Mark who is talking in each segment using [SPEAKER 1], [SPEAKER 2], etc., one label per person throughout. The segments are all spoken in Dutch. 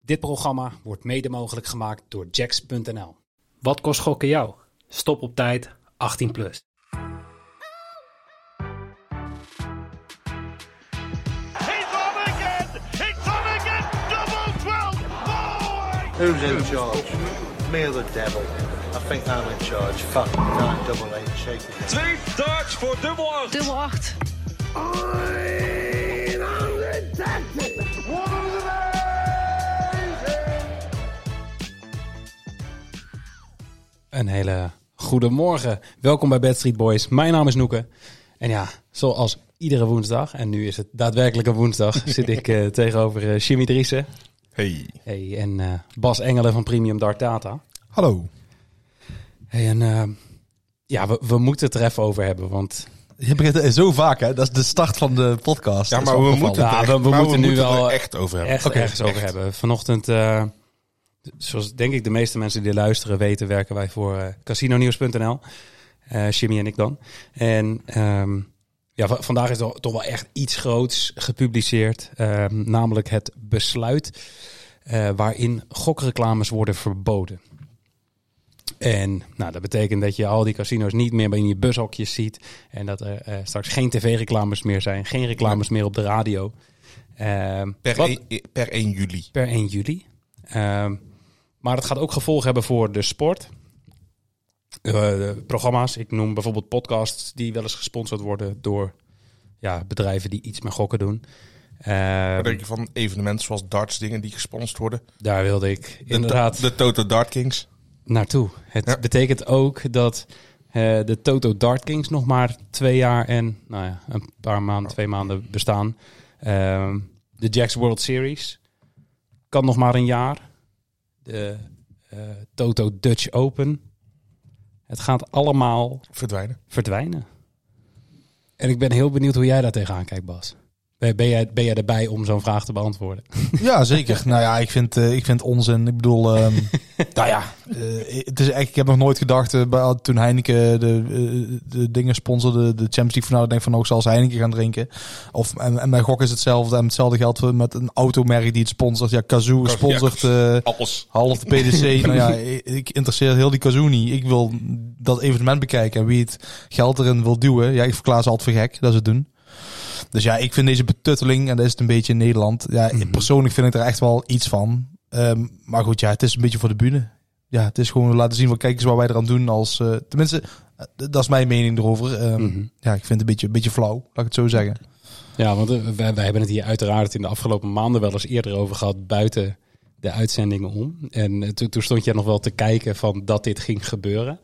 [SPEAKER 1] Dit programma wordt mede mogelijk gemaakt door Jacks.nl.
[SPEAKER 2] Wat kost gokken jou? Stop op tijd 18 plus.
[SPEAKER 3] He's on again! He's on again! Double 12! Oh!
[SPEAKER 4] Who's in charge? Me or the devil? I think I'm in charge. Fuck nine double eight, shake it.
[SPEAKER 3] Twee darts voor dubbel 8.
[SPEAKER 5] Dubbel 8.
[SPEAKER 1] Een hele goede morgen. Welkom bij Bad Street Boys. Mijn naam is Noeke. En ja, zoals iedere woensdag, en nu is het daadwerkelijk een woensdag, zit ik eh, tegenover eh, Jimmy Driessen
[SPEAKER 6] Hey.
[SPEAKER 1] hey, en eh, Bas Engelen van Premium Dart Data.
[SPEAKER 6] Hallo.
[SPEAKER 1] Hey, en eh, ja, we, we moeten het er even over hebben, want
[SPEAKER 7] Je begint er zo vaak, hè? Dat is de start van de podcast.
[SPEAKER 6] Ja,
[SPEAKER 7] Dat is
[SPEAKER 6] maar we
[SPEAKER 7] opgevallen.
[SPEAKER 6] moeten, het
[SPEAKER 1] Ja,
[SPEAKER 6] echt-
[SPEAKER 1] we- we
[SPEAKER 6] maar
[SPEAKER 1] moeten nu wel
[SPEAKER 6] er echt over hebben.
[SPEAKER 1] echt ergens over hebben. Vanochtend, eh, zoals denk ik de meeste mensen die luisteren weten, werken wij voor eh, casinonieuws.nl. Eh, Jimmy en ik dan. En ehm, ja, va- vandaag is er toch wel echt iets groots gepubliceerd. ehm, namelijk het besluit eh, waarin gokreclames worden verboden. En nou, dat betekent dat je al die casino's niet meer in je bushokjes ziet. En dat er eh, straks geen tv-reclames meer zijn. Geen reclames meer op de radio. Ehm,
[SPEAKER 6] Per, e-
[SPEAKER 1] wat-
[SPEAKER 6] 1, per 1 juli.
[SPEAKER 1] per 1 juli. Ehm, maar het gaat ook gevolgen hebben voor de sport. Eh, programma's, ik noem bijvoorbeeld podcasts die wel eens gesponsord worden door ja, bedrijven die iets met gokken doen. Ehm,
[SPEAKER 6] Wat denk je van evenementen zoals darts dingen die gesponsord worden? De
[SPEAKER 1] daar wilde ik
[SPEAKER 6] to-
[SPEAKER 1] inderdaad
[SPEAKER 6] De, Toto Dart Kings.
[SPEAKER 1] naartoe. Het
[SPEAKER 6] Ja.
[SPEAKER 1] betekent ook dat eh, de Toto Dart Kings nog maar twee jaar en nou ja, een paar maanden, twee maanden bestaan. Ehm, de Jacks World Series kan nog maar een jaar. De eh, Toto Dutch Open. Het gaat allemaal
[SPEAKER 6] Verdwijnen.
[SPEAKER 1] verdwijnen. En ik ben heel benieuwd hoe jij daar tegenaan kijkt, Bas. Ben ben jij, ben jij erbij om zo'n vraag te beantwoorden?
[SPEAKER 7] Ja, zeker. nou ja, ik vind, eh, ik vind onzin. Ik bedoel, ehm, nou ja, eh, het is echt, ik heb nog nooit gedacht, eh, bij- toen Heineken de, eh, de dingen sponsorde, de Champions League van nou, ik denk van, ook zal ze Heineken gaan drinken. Of, en, en bij gok is hetzelfde. En hetzelfde geldt met een automerk die het sponsort. Ja, Kazoo
[SPEAKER 6] Kazoo,
[SPEAKER 7] sponsort... eh,
[SPEAKER 6] Alles.
[SPEAKER 7] Half de PDC. nou ja, ik, ik interesseer heel die kazoo niet. Ik wil dat evenement bekijken. En wie het geld erin wil duwen. Ja, ik verklaar ze altijd voor gek dat ze het doen. Dus ja, ik vind deze betutteling, en dat is het een beetje in Nederland. Ja, persoonlijk vind ik er echt wel iets van. Ehm, maar goed, ja, het is een beetje voor de bühne. Ja, het is gewoon laten zien, wat kijk eens wat wij eraan doen als... eh, tenminste, eh, d- dat is mijn mening erover. Ehm,
[SPEAKER 1] Mhm.
[SPEAKER 7] Ja, ik vind het een beetje, een beetje flauw, laat ik het zo zeggen.
[SPEAKER 1] Ja, want eh, wij, wij hebben het hier uiteraard in de afgelopen maanden wel eens eerder over gehad buiten de uitzendingen om. En eh, toen, toen stond jij nog wel te kijken van dat dit ging gebeuren.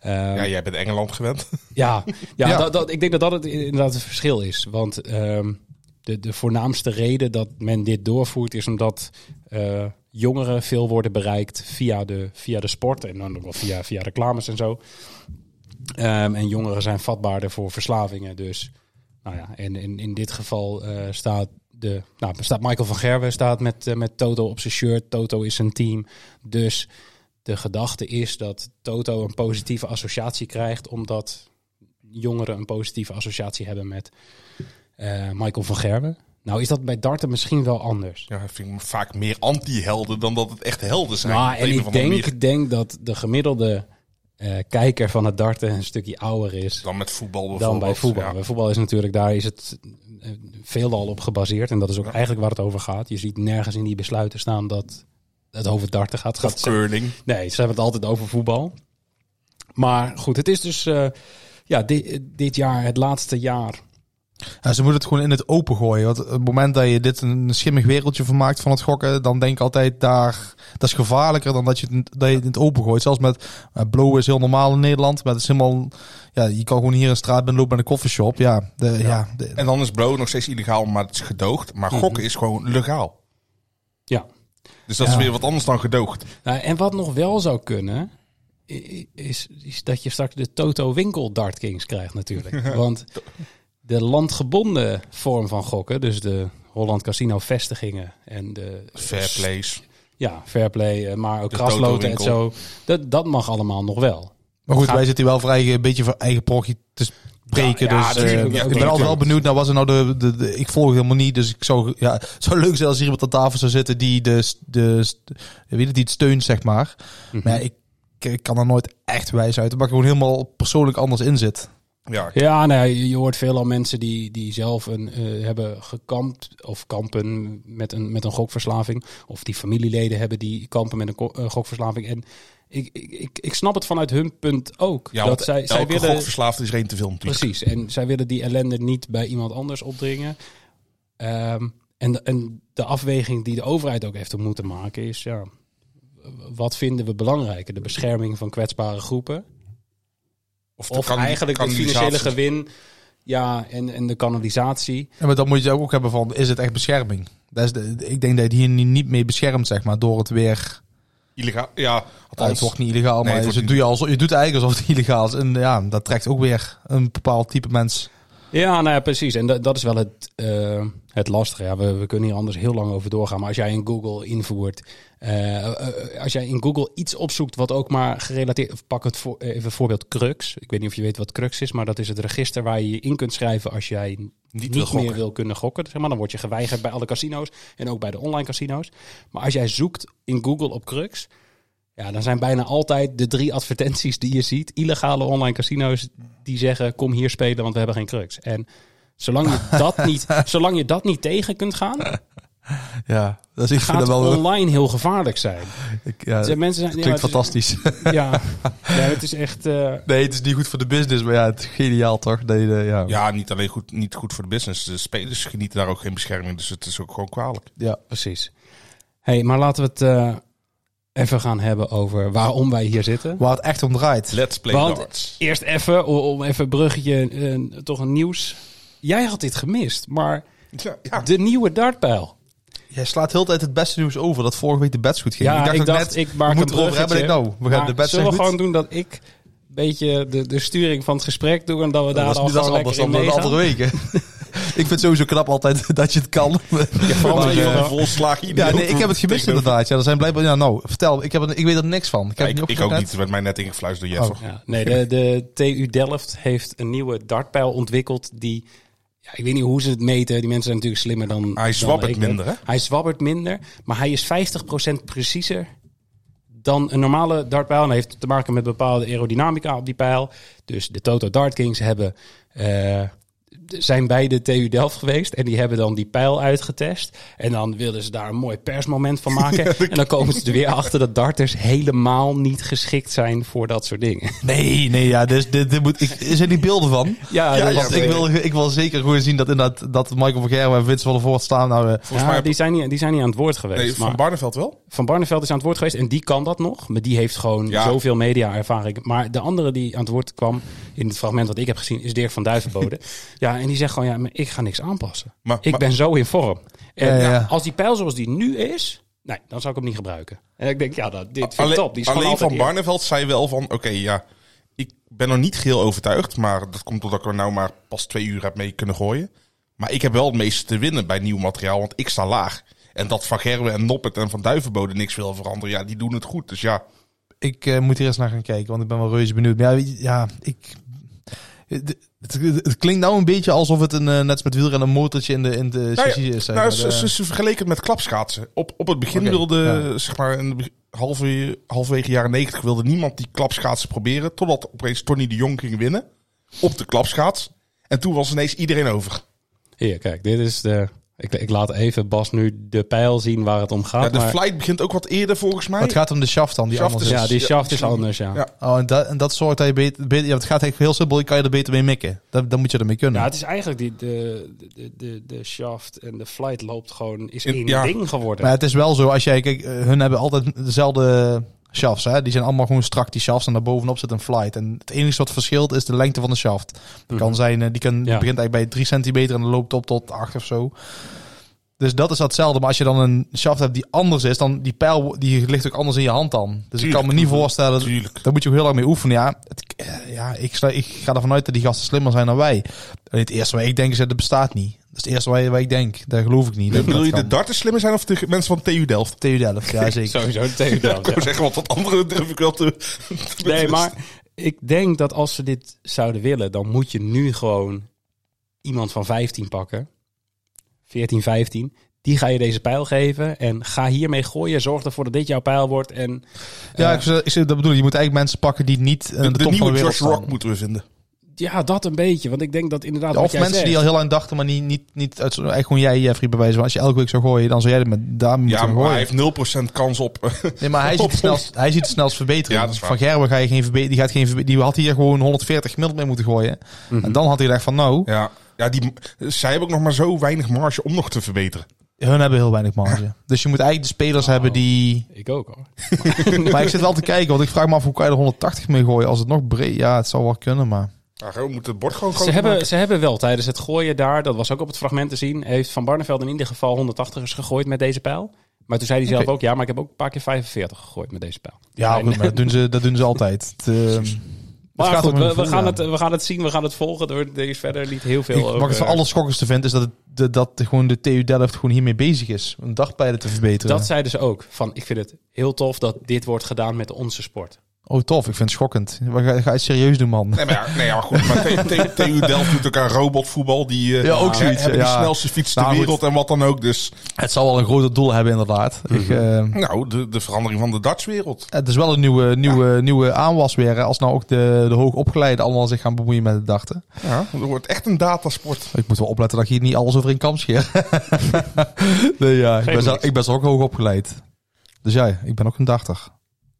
[SPEAKER 1] Ehm,
[SPEAKER 6] Ja,
[SPEAKER 1] ja,
[SPEAKER 6] jij bent Engeland gewend.
[SPEAKER 1] ja,
[SPEAKER 7] Ja.
[SPEAKER 1] Dat, dat, ik denk dat dat het inderdaad het verschil is. Want ehm, de, de voornaamste reden dat men dit doorvoert is omdat eh, jongeren veel worden bereikt via de, via de sport en dan ook wel via, via reclames en zo. Ehm, en jongeren zijn vatbaarder voor verslavingen. Dus nou ja, en in, in dit geval eh, staat, de, nou, staat Michael van Gerwen staat met, eh, met Toto op zijn shirt. Toto is zijn team. Dus de gedachte is dat Toto een positieve associatie krijgt, omdat jongeren een positieve associatie hebben met eh, Michael van Gerwen. Nou is dat bij darten misschien wel anders.
[SPEAKER 6] Ja, vind ik vaak meer anti-helden dan dat het echt helden zijn.
[SPEAKER 1] Nou,
[SPEAKER 6] Op de
[SPEAKER 1] en
[SPEAKER 6] een of
[SPEAKER 1] ik
[SPEAKER 6] andere
[SPEAKER 1] denk,
[SPEAKER 6] manier.
[SPEAKER 1] denk dat de gemiddelde eh, kijker van het darten een stukje ouder is
[SPEAKER 6] Dan met voetbal
[SPEAKER 1] dan
[SPEAKER 6] bijvoorbeeld.
[SPEAKER 1] bij voetbal.
[SPEAKER 6] Ja.
[SPEAKER 1] Bij voetbal is natuurlijk, daar is het eh, veelal op gebaseerd. En dat is ook eigenlijk waar het over gaat. Je ziet nergens in die besluiten staan dat het over darten gaat.
[SPEAKER 6] Of
[SPEAKER 1] gaat ze-
[SPEAKER 6] curling.
[SPEAKER 1] nee, ze hebben het altijd over voetbal. Maar goed, het is dus eh, ja, di- dit jaar het laatste jaar
[SPEAKER 7] Ja, ze moeten het gewoon in het open gooien. Want op het moment dat je dit een schimmig wereldje van maakt van het gokken, dan denk ik altijd daar, dat is gevaarlijker dan dat je het, dat je het in het open gooit. Zelfs met eh, blowen is heel normaal in Nederland, maar het is helemaal, ja, je kan gewoon hier een straat binnen lopen bij een koffieshop. Ja, de, ja. de-
[SPEAKER 6] En dan is blowen nog steeds illegaal, maar het is gedoogd.
[SPEAKER 1] Mhm.
[SPEAKER 6] Maar gokken is gewoon legaal.
[SPEAKER 1] Ja.
[SPEAKER 6] Dus dat is weer wat anders dan gedoogd.
[SPEAKER 1] Nou, en wat nog wel zou kunnen, i- i- is, is dat je straks de Toto Winkel Dart Kings krijgt natuurlijk. Want de landgebonden vorm van gokken, dus de Holland Casino vestigingen en de...
[SPEAKER 6] Fair plays.
[SPEAKER 1] Ja, Fairplay, eh, maar ook
[SPEAKER 6] De
[SPEAKER 1] grasloten en
[SPEAKER 6] Toto-winkel.
[SPEAKER 1] zo. Dat, dat mag allemaal nog wel.
[SPEAKER 7] maar goed,
[SPEAKER 1] Gaat-
[SPEAKER 7] wij zitten hier wel voor eigen, een beetje voor eigen prochtje te, preken.
[SPEAKER 6] Ja, ja,
[SPEAKER 7] dus eh,
[SPEAKER 6] tuurlijk, ja,
[SPEAKER 7] ik ben
[SPEAKER 6] tuurlijk.
[SPEAKER 7] altijd wel benieuwd naar wat ze nou de, de, de- Ik volg helemaal niet. Dus ik zou. Ja, het zou leuk zijn als hier iemand aan tafel zou zitten die de. st- de st- weet het, die het steunt, zeg maar.
[SPEAKER 6] Mhm.
[SPEAKER 7] Maar ja, ik, ik kan er nooit echt wijs uit. Maar ik gewoon helemaal persoonlijk anders in zit.
[SPEAKER 6] Ja,
[SPEAKER 1] Ja, nou, ja, je- je hoort veelal mensen die, die zelf een, eh, hebben gekampt of kampen met een, met een gokverslaving. Of die familieleden hebben die kampen met een ko- eh, gokverslaving. En ik, ik, ik, ik snap het vanuit hun punt ook.
[SPEAKER 6] ja
[SPEAKER 1] dat
[SPEAKER 6] want
[SPEAKER 1] zij, zij
[SPEAKER 6] elke
[SPEAKER 1] willen,
[SPEAKER 6] gokverslaafde is er één te veel natuurlijk.
[SPEAKER 1] precies, en zij willen die ellende niet bij iemand anders opdringen. Ehm, en, en de afweging die de overheid ook heeft moeten maken is, ja, wat vinden we belangrijker? De bescherming van kwetsbare groepen
[SPEAKER 6] de
[SPEAKER 1] of
[SPEAKER 6] kan-
[SPEAKER 1] eigenlijk het financiële
[SPEAKER 6] kanalisatie.
[SPEAKER 1] gewin. Ja, en, en de kanalisatie.
[SPEAKER 7] Ja, maar dan moet je ook hebben van: is het echt bescherming? Dat is de- ik denk dat je het hier niet niet mee beschermt, zeg maar, door het weer.
[SPEAKER 6] Illegaal, ja.
[SPEAKER 7] Ja, het
[SPEAKER 6] Althans,
[SPEAKER 7] wordt niet illegaal,
[SPEAKER 6] Nee,
[SPEAKER 7] maar
[SPEAKER 6] het
[SPEAKER 7] je,
[SPEAKER 6] wordt
[SPEAKER 7] doe je, alsof, je doet eigenlijk alsof het illegaal is. En ja, dat trekt ook weer een bepaald type mens.
[SPEAKER 1] Ja, nou ja, precies. En da- dat is wel het, eh, het lastige. Ja, we, we kunnen hier anders heel lang over doorgaan. Maar als jij in Google invoert. eh, eh, als jij in Google iets opzoekt wat ook maar gerelateerd. of Pak het voor, eh, even voorbeeld Crux. Ik weet niet of je weet wat Crux is, maar dat is het register waar je je in kunt schrijven als jij niet,
[SPEAKER 6] wil gokken.
[SPEAKER 1] meer wil kunnen gokken. Zeg maar. Dan word je geweigerd bij alle casino's en ook bij de online casino's. Maar als jij zoekt in Google op Crux. Ja, dan zijn bijna altijd de drie advertenties die je ziet. Illegale online casino's die zeggen: kom hier spelen, want we hebben geen crux. En zolang je dat niet, zolang je dat niet tegen kunt gaan,
[SPEAKER 7] Ja, dat is, ik vind
[SPEAKER 1] gaat
[SPEAKER 7] dat wel.
[SPEAKER 1] online heel gevaarlijk zijn.
[SPEAKER 7] ik- ja,
[SPEAKER 1] Er zijn mensen zijn,
[SPEAKER 7] klinkt
[SPEAKER 1] ja, het
[SPEAKER 7] fantastisch.
[SPEAKER 1] is- Ja, Ja, het is echt. eh,
[SPEAKER 7] Nee, het is niet goed voor de business, maar ja, het is geniaal toch? Nee, nee, ja.
[SPEAKER 6] Ja, niet alleen goed, niet goed voor de business. De spelers genieten daar ook geen bescherming, dus het is ook gewoon kwalijk.
[SPEAKER 7] Ja.
[SPEAKER 1] precies. Hey, maar laten we het eh, even gaan hebben over waarom wij hier zitten.
[SPEAKER 7] Waar het echt om draait.
[SPEAKER 6] Let's play
[SPEAKER 1] Want-
[SPEAKER 6] darts.
[SPEAKER 1] Eerst even, om- om even een bruggetje, eh, toch een nieuws. Jij had dit gemist, maar
[SPEAKER 6] Ja, ja.
[SPEAKER 1] de nieuwe dartpijl.
[SPEAKER 7] Jij slaat heel de tijd het beste nieuws over dat vorige week de bets goed ging.
[SPEAKER 1] Ja, ik dacht, ik maak
[SPEAKER 7] we moeten
[SPEAKER 1] een
[SPEAKER 7] erover hebben. Ik,
[SPEAKER 1] bruggetje.
[SPEAKER 7] nou, we gaan
[SPEAKER 1] Maar
[SPEAKER 7] de bets
[SPEAKER 1] zullen
[SPEAKER 7] zijn
[SPEAKER 1] we
[SPEAKER 7] goed.
[SPEAKER 1] gewoon doen dat ik een beetje de, de sturing van het gesprek doe en dat we daar
[SPEAKER 7] dat
[SPEAKER 1] dan
[SPEAKER 7] is, dat is
[SPEAKER 1] gewoon
[SPEAKER 7] anders
[SPEAKER 1] lekker in
[SPEAKER 7] dan de
[SPEAKER 1] meegaan?
[SPEAKER 7] andere weken. ik vind het sowieso knap altijd dat je het kan.
[SPEAKER 1] vooral
[SPEAKER 7] Maar,
[SPEAKER 1] dat je
[SPEAKER 7] eh,
[SPEAKER 1] wel-
[SPEAKER 6] volslag
[SPEAKER 7] ja, nee, ik heb het gemist inderdaad. Ja, er zijn blijkbaar... Ja, nou, vertel. Ik, heb er, ik weet er niks van. Ik, heb het
[SPEAKER 6] ik, ik ook
[SPEAKER 7] opgezocht
[SPEAKER 6] niet. Het werd mij net Oh. ingefluisterd door Jeff.
[SPEAKER 1] Ja, nee, de, de TU Delft heeft een nieuwe dartpijl ontwikkeld die... Ja, ik weet niet hoe ze het meten. Die mensen zijn natuurlijk slimmer dan...
[SPEAKER 6] Hij
[SPEAKER 1] dan
[SPEAKER 6] zwabbert
[SPEAKER 1] ik ben.
[SPEAKER 6] minder, hè?
[SPEAKER 1] Hij zwabbert minder, maar hij is 50% preciezer dan een normale dartpijl. En dat heeft te maken met bepaalde aerodynamica op die pijl. Dus de Toto Dart Kings hebben... eh, zijn bij de TU Delft geweest en die hebben dan die pijl uitgetest. En dan wilden ze daar een mooi persmoment van maken. en dan komen ze er weer achter dat darters helemaal niet geschikt zijn voor dat soort dingen.
[SPEAKER 7] net. Nee, nee, ja. Dus, dit, dit moet, ik, er zijn die beelden van.
[SPEAKER 1] Ja,
[SPEAKER 7] Ja,
[SPEAKER 1] dat was-
[SPEAKER 7] want ik, wil, ik wil zeker gewoon zien dat, inderdaad, dat Michael van Gerwen en Vince van der Voort staan. Nou, eh,
[SPEAKER 1] Ja,
[SPEAKER 6] mij-
[SPEAKER 1] die, zijn niet, die zijn niet aan het woord geweest.
[SPEAKER 6] Nee,
[SPEAKER 1] maar
[SPEAKER 6] van
[SPEAKER 1] van,
[SPEAKER 6] Barneveld wel?
[SPEAKER 1] Barneveld is aan het woord geweest en die kan dat nog. Maar die heeft gewoon
[SPEAKER 6] Ja.
[SPEAKER 1] zoveel media-ervaring. Maar de andere die aan het woord kwam in het fragment wat ik heb gezien is Dirk van Duivenbode. ja, en die zegt gewoon, ja, maar ik ga niks aanpassen.
[SPEAKER 6] Maar-
[SPEAKER 1] ik
[SPEAKER 6] maar-
[SPEAKER 1] ben zo in vorm. En
[SPEAKER 7] Ja, ja.
[SPEAKER 1] ja, als die pijl zoals die nu is, nee, dan zou ik hem niet gebruiken. En ik denk, ja, dat, dit vind ik
[SPEAKER 6] Alleen,
[SPEAKER 1] top. Die is
[SPEAKER 6] alleen
[SPEAKER 1] gewoon
[SPEAKER 6] van
[SPEAKER 1] altijd eer-
[SPEAKER 6] Barneveld zei wel van... Oké, ja, ik ben nog niet geheel overtuigd. Maar dat komt doordat ik er nou maar pas twee uur heb mee kunnen gooien. Maar ik heb wel het meeste te winnen bij nieuw materiaal, want ik sta laag. En dat Van Gerwen en Noppet en Van Duivenbode niks wil veranderen. Ja, die doen het goed. Dus ja,
[SPEAKER 7] Ik eh, moet hier eens naar gaan kijken, want ik ben wel reuze benieuwd. Maar ja, weet je, ja ik. Het, het, het klinkt nou een beetje alsof het een, eh, net als met wielrennen, een motortje in de, in de
[SPEAKER 6] Nou ja,
[SPEAKER 7] chassis is. eh, zeg
[SPEAKER 6] nou,
[SPEAKER 7] maar.
[SPEAKER 6] ze,
[SPEAKER 7] De-
[SPEAKER 6] ze, ze vergeleken het met klapschaatsen. Op, op het begin
[SPEAKER 7] Oké,
[SPEAKER 6] wilde,
[SPEAKER 7] ja.
[SPEAKER 6] zeg maar, in de be- halve, halverwege jaren negentig wilde niemand die klapschaatsen proberen. Totdat opeens Tony de Jong ging winnen op de klapschaats. En toen was ineens iedereen over.
[SPEAKER 1] Hier, kijk, dit is de... Ik, ik laat even Bas nu de pijl zien waar het om gaat.
[SPEAKER 6] Ja, de
[SPEAKER 1] maar-
[SPEAKER 6] flight begint ook wat eerder volgens mij.
[SPEAKER 7] het Ah, gaat om de shaft dan, die
[SPEAKER 6] Shaft
[SPEAKER 7] anders
[SPEAKER 6] is-
[SPEAKER 7] is.
[SPEAKER 1] ja, die
[SPEAKER 6] ja,
[SPEAKER 1] shaft is
[SPEAKER 6] misschien-
[SPEAKER 1] anders, ja.
[SPEAKER 6] Ja.
[SPEAKER 7] Oh, en, dat en dat zorgt dat je beter... beter ja, het gaat eigenlijk heel simpel, je kan je er beter mee mikken. Dan, dan moet je ermee kunnen.
[SPEAKER 1] Ja, het is eigenlijk die, de, de, de, de shaft en de flight loopt gewoon, is
[SPEAKER 6] In-
[SPEAKER 1] één
[SPEAKER 6] ja.
[SPEAKER 1] ding geworden.
[SPEAKER 7] maar het is wel zo, als jij... Kijk, eh, hun hebben altijd dezelfde shafts, hè. Die zijn allemaal gewoon strak, die shafts. En daarbovenop zit een flight. En het enige wat verschilt is de lengte van de shaft. Dat
[SPEAKER 6] Mhm.
[SPEAKER 7] kan zijn, eh, die kan, die
[SPEAKER 1] Ja.
[SPEAKER 7] begint eigenlijk bij 3 centimeter en dan loopt op tot 8 of zo. Dus dat is datzelfde. Maar als je dan een shaft hebt die anders is, dan die pijl wo- die ligt ook anders in je hand dan. Dus ik kan me niet voorstellen.
[SPEAKER 6] Tuurlijk.
[SPEAKER 7] Daar moet je ook heel erg mee oefenen. Ja, het, eh, ja ik, sla- ik ga ervan uit dat die gasten slimmer zijn dan wij. En het eerste waar ik denk is dat het bestaat niet. Dat is het eerste waar, waar ik denk. Daar geloof ik niet. Dat,
[SPEAKER 6] Bedoel
[SPEAKER 7] dat
[SPEAKER 6] je de
[SPEAKER 7] kan.
[SPEAKER 6] darters slimmer zijn of de ge- mensen van TU Delft?
[SPEAKER 7] TU Delft, ja zeker.
[SPEAKER 1] Sowieso tegen
[SPEAKER 6] Ik wou zeggen, want dat andere durf ik wel te... te
[SPEAKER 1] Nee,
[SPEAKER 6] betwisten.
[SPEAKER 1] maar ik denk dat als ze dit zouden willen, dan moet je nu gewoon iemand van 15 pakken. 14, 15. Die ga je deze pijl geven en ga hiermee gooien. Zorg ervoor dat dit jouw pijl wordt. En
[SPEAKER 7] Ja,
[SPEAKER 1] Eh,
[SPEAKER 7] ik, zeg- ik, zeg- dat bedoel ik. Je moet eigenlijk mensen pakken die niet eh,
[SPEAKER 6] De,
[SPEAKER 7] aan de,
[SPEAKER 6] de
[SPEAKER 7] top van
[SPEAKER 6] nieuwe
[SPEAKER 7] de wereld
[SPEAKER 6] Josh Rock
[SPEAKER 7] staan.
[SPEAKER 6] moeten we vinden.
[SPEAKER 1] ja, dat een beetje. Want ik denk dat inderdaad.
[SPEAKER 7] Ja,
[SPEAKER 1] wat
[SPEAKER 7] of
[SPEAKER 1] jij
[SPEAKER 7] mensen
[SPEAKER 1] zegt-
[SPEAKER 7] die al heel lang dachten, maar niet, niet, niet uit, zo- eigenlijk gewoon jij, Jeffrey, bij wijze van. Als je elke week zou gooien, dan zou jij er met daar moeten
[SPEAKER 6] Ja,
[SPEAKER 7] gaan
[SPEAKER 6] maar hij
[SPEAKER 7] gooien.
[SPEAKER 6] heeft 0% kans op.
[SPEAKER 7] Nee, maar hij ziet het snelst, hij ziet het snelst verbeteren.
[SPEAKER 6] Ja, dat is waar.
[SPEAKER 7] van Gerber ga je geen verbe- die gaat geen verbe- die had hier gewoon 140 gemiddeld mee moeten gooien.
[SPEAKER 6] Mhm.
[SPEAKER 7] En dan had hij gedacht van, nou,
[SPEAKER 6] ja. Ja, die, zij hebben ook nog maar zo weinig marge om nog te verbeteren.
[SPEAKER 7] hun hebben heel weinig marge. Dus je moet eigenlijk de spelers
[SPEAKER 6] Nou.
[SPEAKER 7] hebben die...
[SPEAKER 1] Ik ook hoor.
[SPEAKER 7] Maar ik zit wel te kijken, want ik vraag me af hoe kan je er 180 mee gooien als het nog breed... Ja, het zou wel kunnen, maar...
[SPEAKER 6] Ja, gewoon moet Nou, het bord gewoon
[SPEAKER 1] Ze
[SPEAKER 6] groter
[SPEAKER 1] hebben,
[SPEAKER 6] maken.
[SPEAKER 1] ze hebben wel tijdens het gooien daar, dat was ook op het fragment te zien, heeft Van Barneveld in ieder geval 180ers gegooid met deze pijl. Maar toen zei hij zelf
[SPEAKER 7] Oké.
[SPEAKER 1] ook, ja, maar ik heb ook een paar keer 45 gegooid met deze pijl.
[SPEAKER 7] Ja, goed, maar dat doen ze, dat doen ze altijd. Het, ehm, het
[SPEAKER 1] Maar
[SPEAKER 7] gaat
[SPEAKER 1] goed,
[SPEAKER 7] om hun
[SPEAKER 1] we, we
[SPEAKER 7] gevoel,
[SPEAKER 1] gaan
[SPEAKER 7] ja.
[SPEAKER 1] het, we gaan het zien, we gaan het volgen. Er er is verder niet heel veel
[SPEAKER 7] Ik,
[SPEAKER 1] over.
[SPEAKER 7] wat ik van alle schokkendste vind, is dat, het, de- dat de- gewoon de TU Delft gewoon hiermee bezig is. Om dagpijlen te verbeteren.
[SPEAKER 1] Dat zeiden ze ook. Van, ik vind het heel tof dat dit wordt gedaan met onze sport.
[SPEAKER 7] Oh, tof. Ik vind het schokkend. We gaan, ga je het serieus doen, man.
[SPEAKER 6] Nee, maar, ja, nee, ja, maar goed. Maar T- T- TU Delft doet ook aan robotvoetbal. Die eh
[SPEAKER 7] Ja, ook zoiets,
[SPEAKER 6] hebben de
[SPEAKER 7] ja.
[SPEAKER 6] snelste fiets ter
[SPEAKER 7] Nou, goed.
[SPEAKER 6] wereld en wat dan ook. Dus
[SPEAKER 7] Het zal wel een groter doel hebben, inderdaad. Ik, ehm,
[SPEAKER 6] nou, de, de verandering van de dartswereld.
[SPEAKER 7] het is wel een nieuwe, nieuwe, nieuwe aanwas weer. hè, Als nou ook de, de hoogopgeleiden allemaal zich gaan bemoeien met het dachten.
[SPEAKER 6] Ja, er wordt echt een datasport.
[SPEAKER 7] Ik moet wel opletten dat ik hier niet alles over in kam scheer. nee, ja. Ik ben,
[SPEAKER 1] Geeft
[SPEAKER 7] zelf-
[SPEAKER 1] niks.
[SPEAKER 7] ik ben zelf ook hoogopgeleid. Dus ja, ik ben ook een dachter.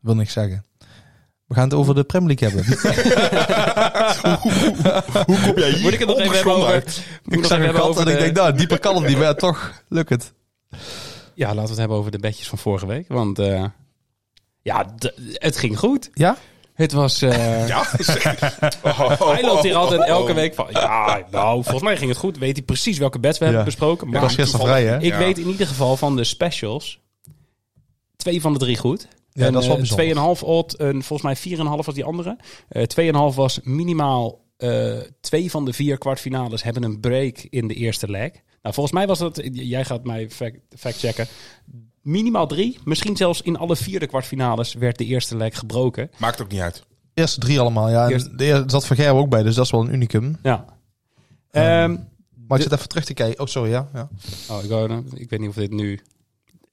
[SPEAKER 7] Wil niks zeggen. We gaan het over de Premier League hebben.
[SPEAKER 6] Hoe kom jij hier
[SPEAKER 1] Moet ik het nog even hebben
[SPEAKER 6] ongeschonden
[SPEAKER 1] over...
[SPEAKER 6] uit?
[SPEAKER 1] moet nog
[SPEAKER 7] Ik zag
[SPEAKER 1] even hebben
[SPEAKER 7] een kat en
[SPEAKER 1] over
[SPEAKER 7] ik
[SPEAKER 1] de-
[SPEAKER 7] denk, nou, dieper kan het niet. Maar ja, toch, lukt het.
[SPEAKER 1] Ja, laten we het hebben over de bedjes van vorige week. Want eh, ja, d- het ging goed.
[SPEAKER 7] Ja?
[SPEAKER 1] Het was... eh,
[SPEAKER 6] Ja, zeg. Oh, oh,
[SPEAKER 1] Hij loopt hier
[SPEAKER 6] oh,
[SPEAKER 1] altijd
[SPEAKER 6] oh,
[SPEAKER 1] elke
[SPEAKER 6] oh.
[SPEAKER 1] week van. Ja, nou, volgens mij ging het goed. Weet hij precies welke bets we hebben
[SPEAKER 7] Ja.
[SPEAKER 1] besproken.
[SPEAKER 7] Ik
[SPEAKER 1] Maar
[SPEAKER 7] was gisteren vrij, hè?
[SPEAKER 1] ik
[SPEAKER 6] Ja.
[SPEAKER 1] weet in ieder geval van de specials. Twee van de drie goed.
[SPEAKER 7] Ja, dat is wel
[SPEAKER 1] eh,
[SPEAKER 7] bijzonder.
[SPEAKER 1] 2,5 odd. En volgens mij 4,5 was die andere. Eh 2,5 was minimaal. eh, twee van de vier kwartfinales hebben een break in de eerste leg. Nou, volgens mij was dat. Jij gaat mij fact- fact-checken. minimaal drie. Misschien zelfs in alle vierde kwartfinales werd de eerste leg gebroken.
[SPEAKER 6] Maakt ook niet uit.
[SPEAKER 7] Eerste drie allemaal, ja. En
[SPEAKER 1] Eerst-
[SPEAKER 7] de eerste zat Van Gerwen ook bij, dus dat is wel een unicum.
[SPEAKER 1] Ja. Ehm
[SPEAKER 7] Maar ik zit even terug te kijken. Oh, sorry, ja. ja.
[SPEAKER 1] Oh, ik, wou- ik weet niet of dit nu.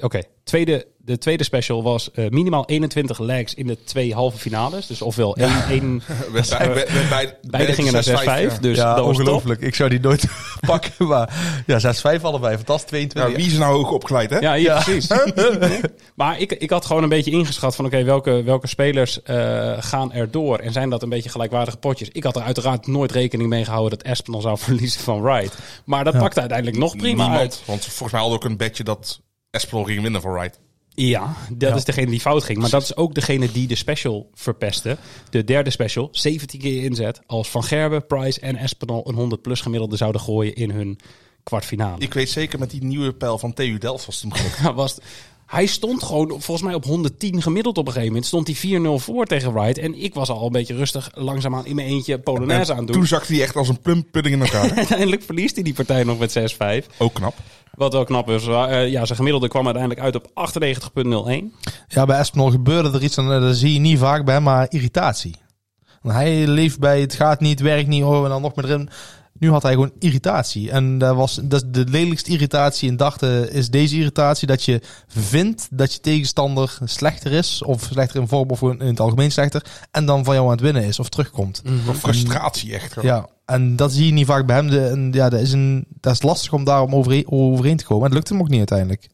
[SPEAKER 1] Oké, tweede, de tweede special was eh, minimaal 21 legs in de twee halve finales. Dus ofwel één één- eh, beide gingen naar 6-5. Dus
[SPEAKER 7] ja,
[SPEAKER 1] dat was top.
[SPEAKER 7] ongelooflijk. Ik zou die nooit pakken, maar... Ja, 6-5 allebei. Fantastisch, 22.
[SPEAKER 6] Ja, wie is nou hoog opgeleid, hè?
[SPEAKER 1] Ja, hier, precies. maar ik, ik had gewoon een beetje ingeschat van oké, welke, welke spelers eh, gaan er door en zijn dat een beetje gelijkwaardige potjes. Ik had er uiteraard nooit rekening mee gehouden dat Espinal zou verliezen van Wright. Maar dat pakte uiteindelijk nog prima
[SPEAKER 6] Niemand.
[SPEAKER 1] uit.
[SPEAKER 6] Want volgens mij hadden we ook een bedje dat Espelol ging winnen voor Wright.
[SPEAKER 1] Ja, dat is degene die fout ging. Maar dat is ook degene die de special verpestte. De derde special, 17 keer inzet. Als Van Gerben, Price en Espinal een 100 plus gemiddelde zouden gooien in hun kwartfinale.
[SPEAKER 6] Ik weet zeker met die nieuwe pijl van TU Delft was het hem gelukt.
[SPEAKER 1] Ja, was, hij stond gewoon op- volgens mij op 110 gemiddeld op een gegeven moment. Stond hij 4-0 voor tegen Wright. En ik was al een beetje rustig langzaamaan in mijn eentje Polonaise
[SPEAKER 6] En
[SPEAKER 1] aan het doen.
[SPEAKER 6] Toen zakte hij echt als een plumpudding in elkaar.
[SPEAKER 1] Uiteindelijk verliest hij die partij nog met 6-5.
[SPEAKER 6] ook knap.
[SPEAKER 1] Wat wel knap is. Eh, ja, zijn gemiddelde kwam uiteindelijk uit op 98,01.
[SPEAKER 7] Ja, bij Espinol gebeurde er iets, en eh, dat zie je niet vaak bij hem, maar irritatie. Want hij leeft bij het gaat niet, werkt niet, oh, en dan nog meer erin. Nu had hij gewoon irritatie. En dat was dat is de lelijkste irritatie in dachten is deze irritatie. Dat je vindt dat je tegenstander slechter is, of slechter in vorm, of gewoon in het algemeen slechter. En dan van jou aan het winnen is, of terugkomt.
[SPEAKER 6] Een Frustratie echt. gewoon.
[SPEAKER 7] Mhm. Ja, en dat zie je niet vaak bij hem. De, en ja, dat is, een, dat is lastig om daar om overeen, overeen te komen. En het lukt hem ook niet uiteindelijk.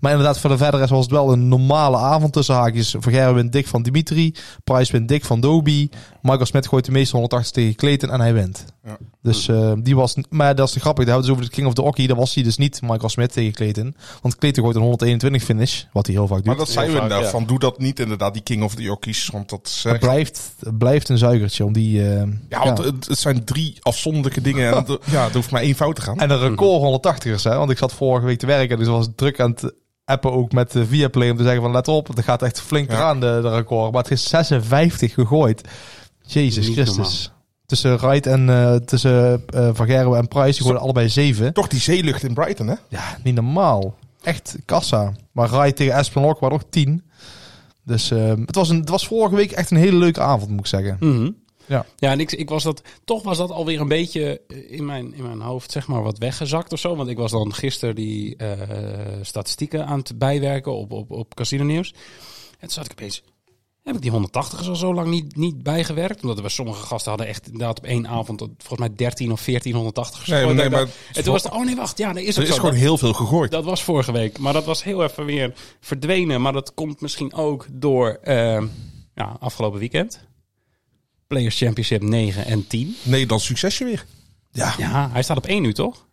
[SPEAKER 7] Maar inderdaad, voor de verdere rest was het wel een normale avond tussen haakjes. Vergerwe wint dik van Dimitri. Price wint dik van Doby. Michael Smit gooit de meeste 180 tegen Clayton en hij wint.
[SPEAKER 6] Ja.
[SPEAKER 7] Dus eh, die was... Maar dat is te grappig. Daar hadden ze over de King of the Hockey. Daar was hij dus niet, Michael Smit tegen Clayton. Want Clayton gooit een 121 finish. Wat hij heel vaak doet.
[SPEAKER 6] Maar dat zeiden we
[SPEAKER 1] vaak,
[SPEAKER 6] inderdaad.
[SPEAKER 1] ja.
[SPEAKER 6] Van doe dat niet inderdaad, die King of the Yorkies. Want dat is, eh,
[SPEAKER 7] Het blijft, het blijft een zuigertje om die... eh,
[SPEAKER 6] ja, want Het, het zijn drie afzonderlijke dingen. En dat- ja, er hoeft maar één fout te gaan.
[SPEAKER 7] En een record 180ers, hè? Want ik zat vorige week te werken, dus was druk aan het appen ook met de Viaplay om te zeggen van let op, het gaat echt flink
[SPEAKER 6] Ja.
[SPEAKER 7] eraan de, de record. Maar het is 56 gegooid. Jezus
[SPEAKER 1] Niet
[SPEAKER 7] Christus.
[SPEAKER 1] normaal.
[SPEAKER 7] Tussen Wright en eh, tussen eh, Van Gerwen en Price, die gooiden allebei 7.
[SPEAKER 6] Toch die zeelucht in Brighton, hè?
[SPEAKER 7] Ja, niet normaal. Echt kassa. Maar Wright tegen Espenlock waren ook 10. Dus ehm, het, was een, het was vorige week echt een hele leuke avond, moet ik zeggen.
[SPEAKER 1] Mhm.
[SPEAKER 7] Ja.
[SPEAKER 1] ja, en ik, ik was dat, toch was dat alweer een beetje eh, in mijn, in mijn hoofd, zeg maar, wat weggezakt of zo. Want ik was dan gisteren die eh, statistieken aan het bijwerken op, op, op Casino Nieuws. En toen zat ik opeens, heb ik die 180ers al zo lang niet, niet bijgewerkt? Omdat we sommige gasten hadden echt inderdaad op één avond, tot volgens mij 13 of 14 180ers.
[SPEAKER 6] Nee,
[SPEAKER 1] gegooid.
[SPEAKER 6] nee,
[SPEAKER 1] Ik dacht-
[SPEAKER 6] maar-
[SPEAKER 1] en toen was het, oh nee, wacht, ja, nee, is
[SPEAKER 6] Er
[SPEAKER 1] ook
[SPEAKER 6] is
[SPEAKER 1] zo.
[SPEAKER 6] gewoon heel veel gegooid.
[SPEAKER 1] Dat was vorige week, maar dat was heel even weer verdwenen. Maar dat komt misschien ook door eh, ja, afgelopen weekend. Players Championship 9 en 10.
[SPEAKER 6] Nee, dan succesje weer.
[SPEAKER 1] Ja, hij staat op 1 nu toch?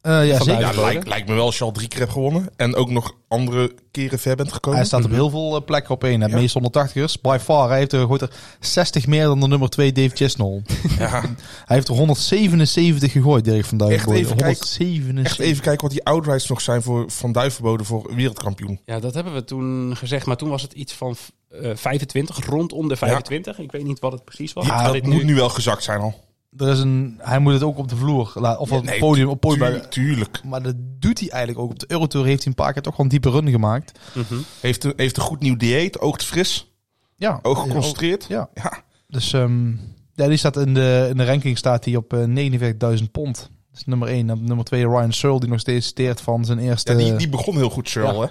[SPEAKER 7] Eh, ja, zeker.
[SPEAKER 1] buiten.
[SPEAKER 6] Ja,
[SPEAKER 1] Geworden.
[SPEAKER 6] lijkt, lijkt me wel als je al drie keer hebt gewonnen. En ook nog andere keren ver bent gekomen.
[SPEAKER 7] Hij staat op heel veel eh, plekken op één. hè. De meeste 180ers. By far. Hij heeft er, gooit er 60 meer dan de nummer 2 Dave Chisnell.
[SPEAKER 6] Ja,
[SPEAKER 7] Hij heeft er 177 gegooid, Dirk van Duiven.
[SPEAKER 6] Echt even kijken.
[SPEAKER 7] 177.
[SPEAKER 6] echt Dus even kijken wat die outrights nog zijn voor Van Duivenboden voor wereldkampioen.
[SPEAKER 1] Ja, dat hebben we toen gezegd. Maar toen was het iets van eh, 25, rondom de 25. Ik weet niet wat het precies was.
[SPEAKER 6] Die-
[SPEAKER 1] Maar
[SPEAKER 6] dat
[SPEAKER 1] Ah, dit
[SPEAKER 6] moet nu wel gezakt zijn al.
[SPEAKER 7] Er is een, hij moet het ook op de vloer, la- of op het
[SPEAKER 6] Nee,
[SPEAKER 7] podium, op podium.
[SPEAKER 6] Tuur- tuurlijk.
[SPEAKER 7] Maar dat doet hij eigenlijk ook. Op de Eurotour heeft hij een paar keer toch wel een diepe run gemaakt.
[SPEAKER 1] Mhm.
[SPEAKER 6] Heeft, een- heeft een goed nieuw dieet, oogt fris,
[SPEAKER 7] Ja.
[SPEAKER 6] oog geconcentreerd.
[SPEAKER 7] Ja.
[SPEAKER 6] Ja.
[SPEAKER 7] Dus ehm, ja, die staat in de, in de ranking staat hij op eh 49.000 pond. Dat is nummer 1. Nummer 2 Ryan Searle, die nog steeds steert van zijn eerste...
[SPEAKER 6] Ja, die, die begon heel goed, Searle.
[SPEAKER 7] Ja.
[SPEAKER 6] hè?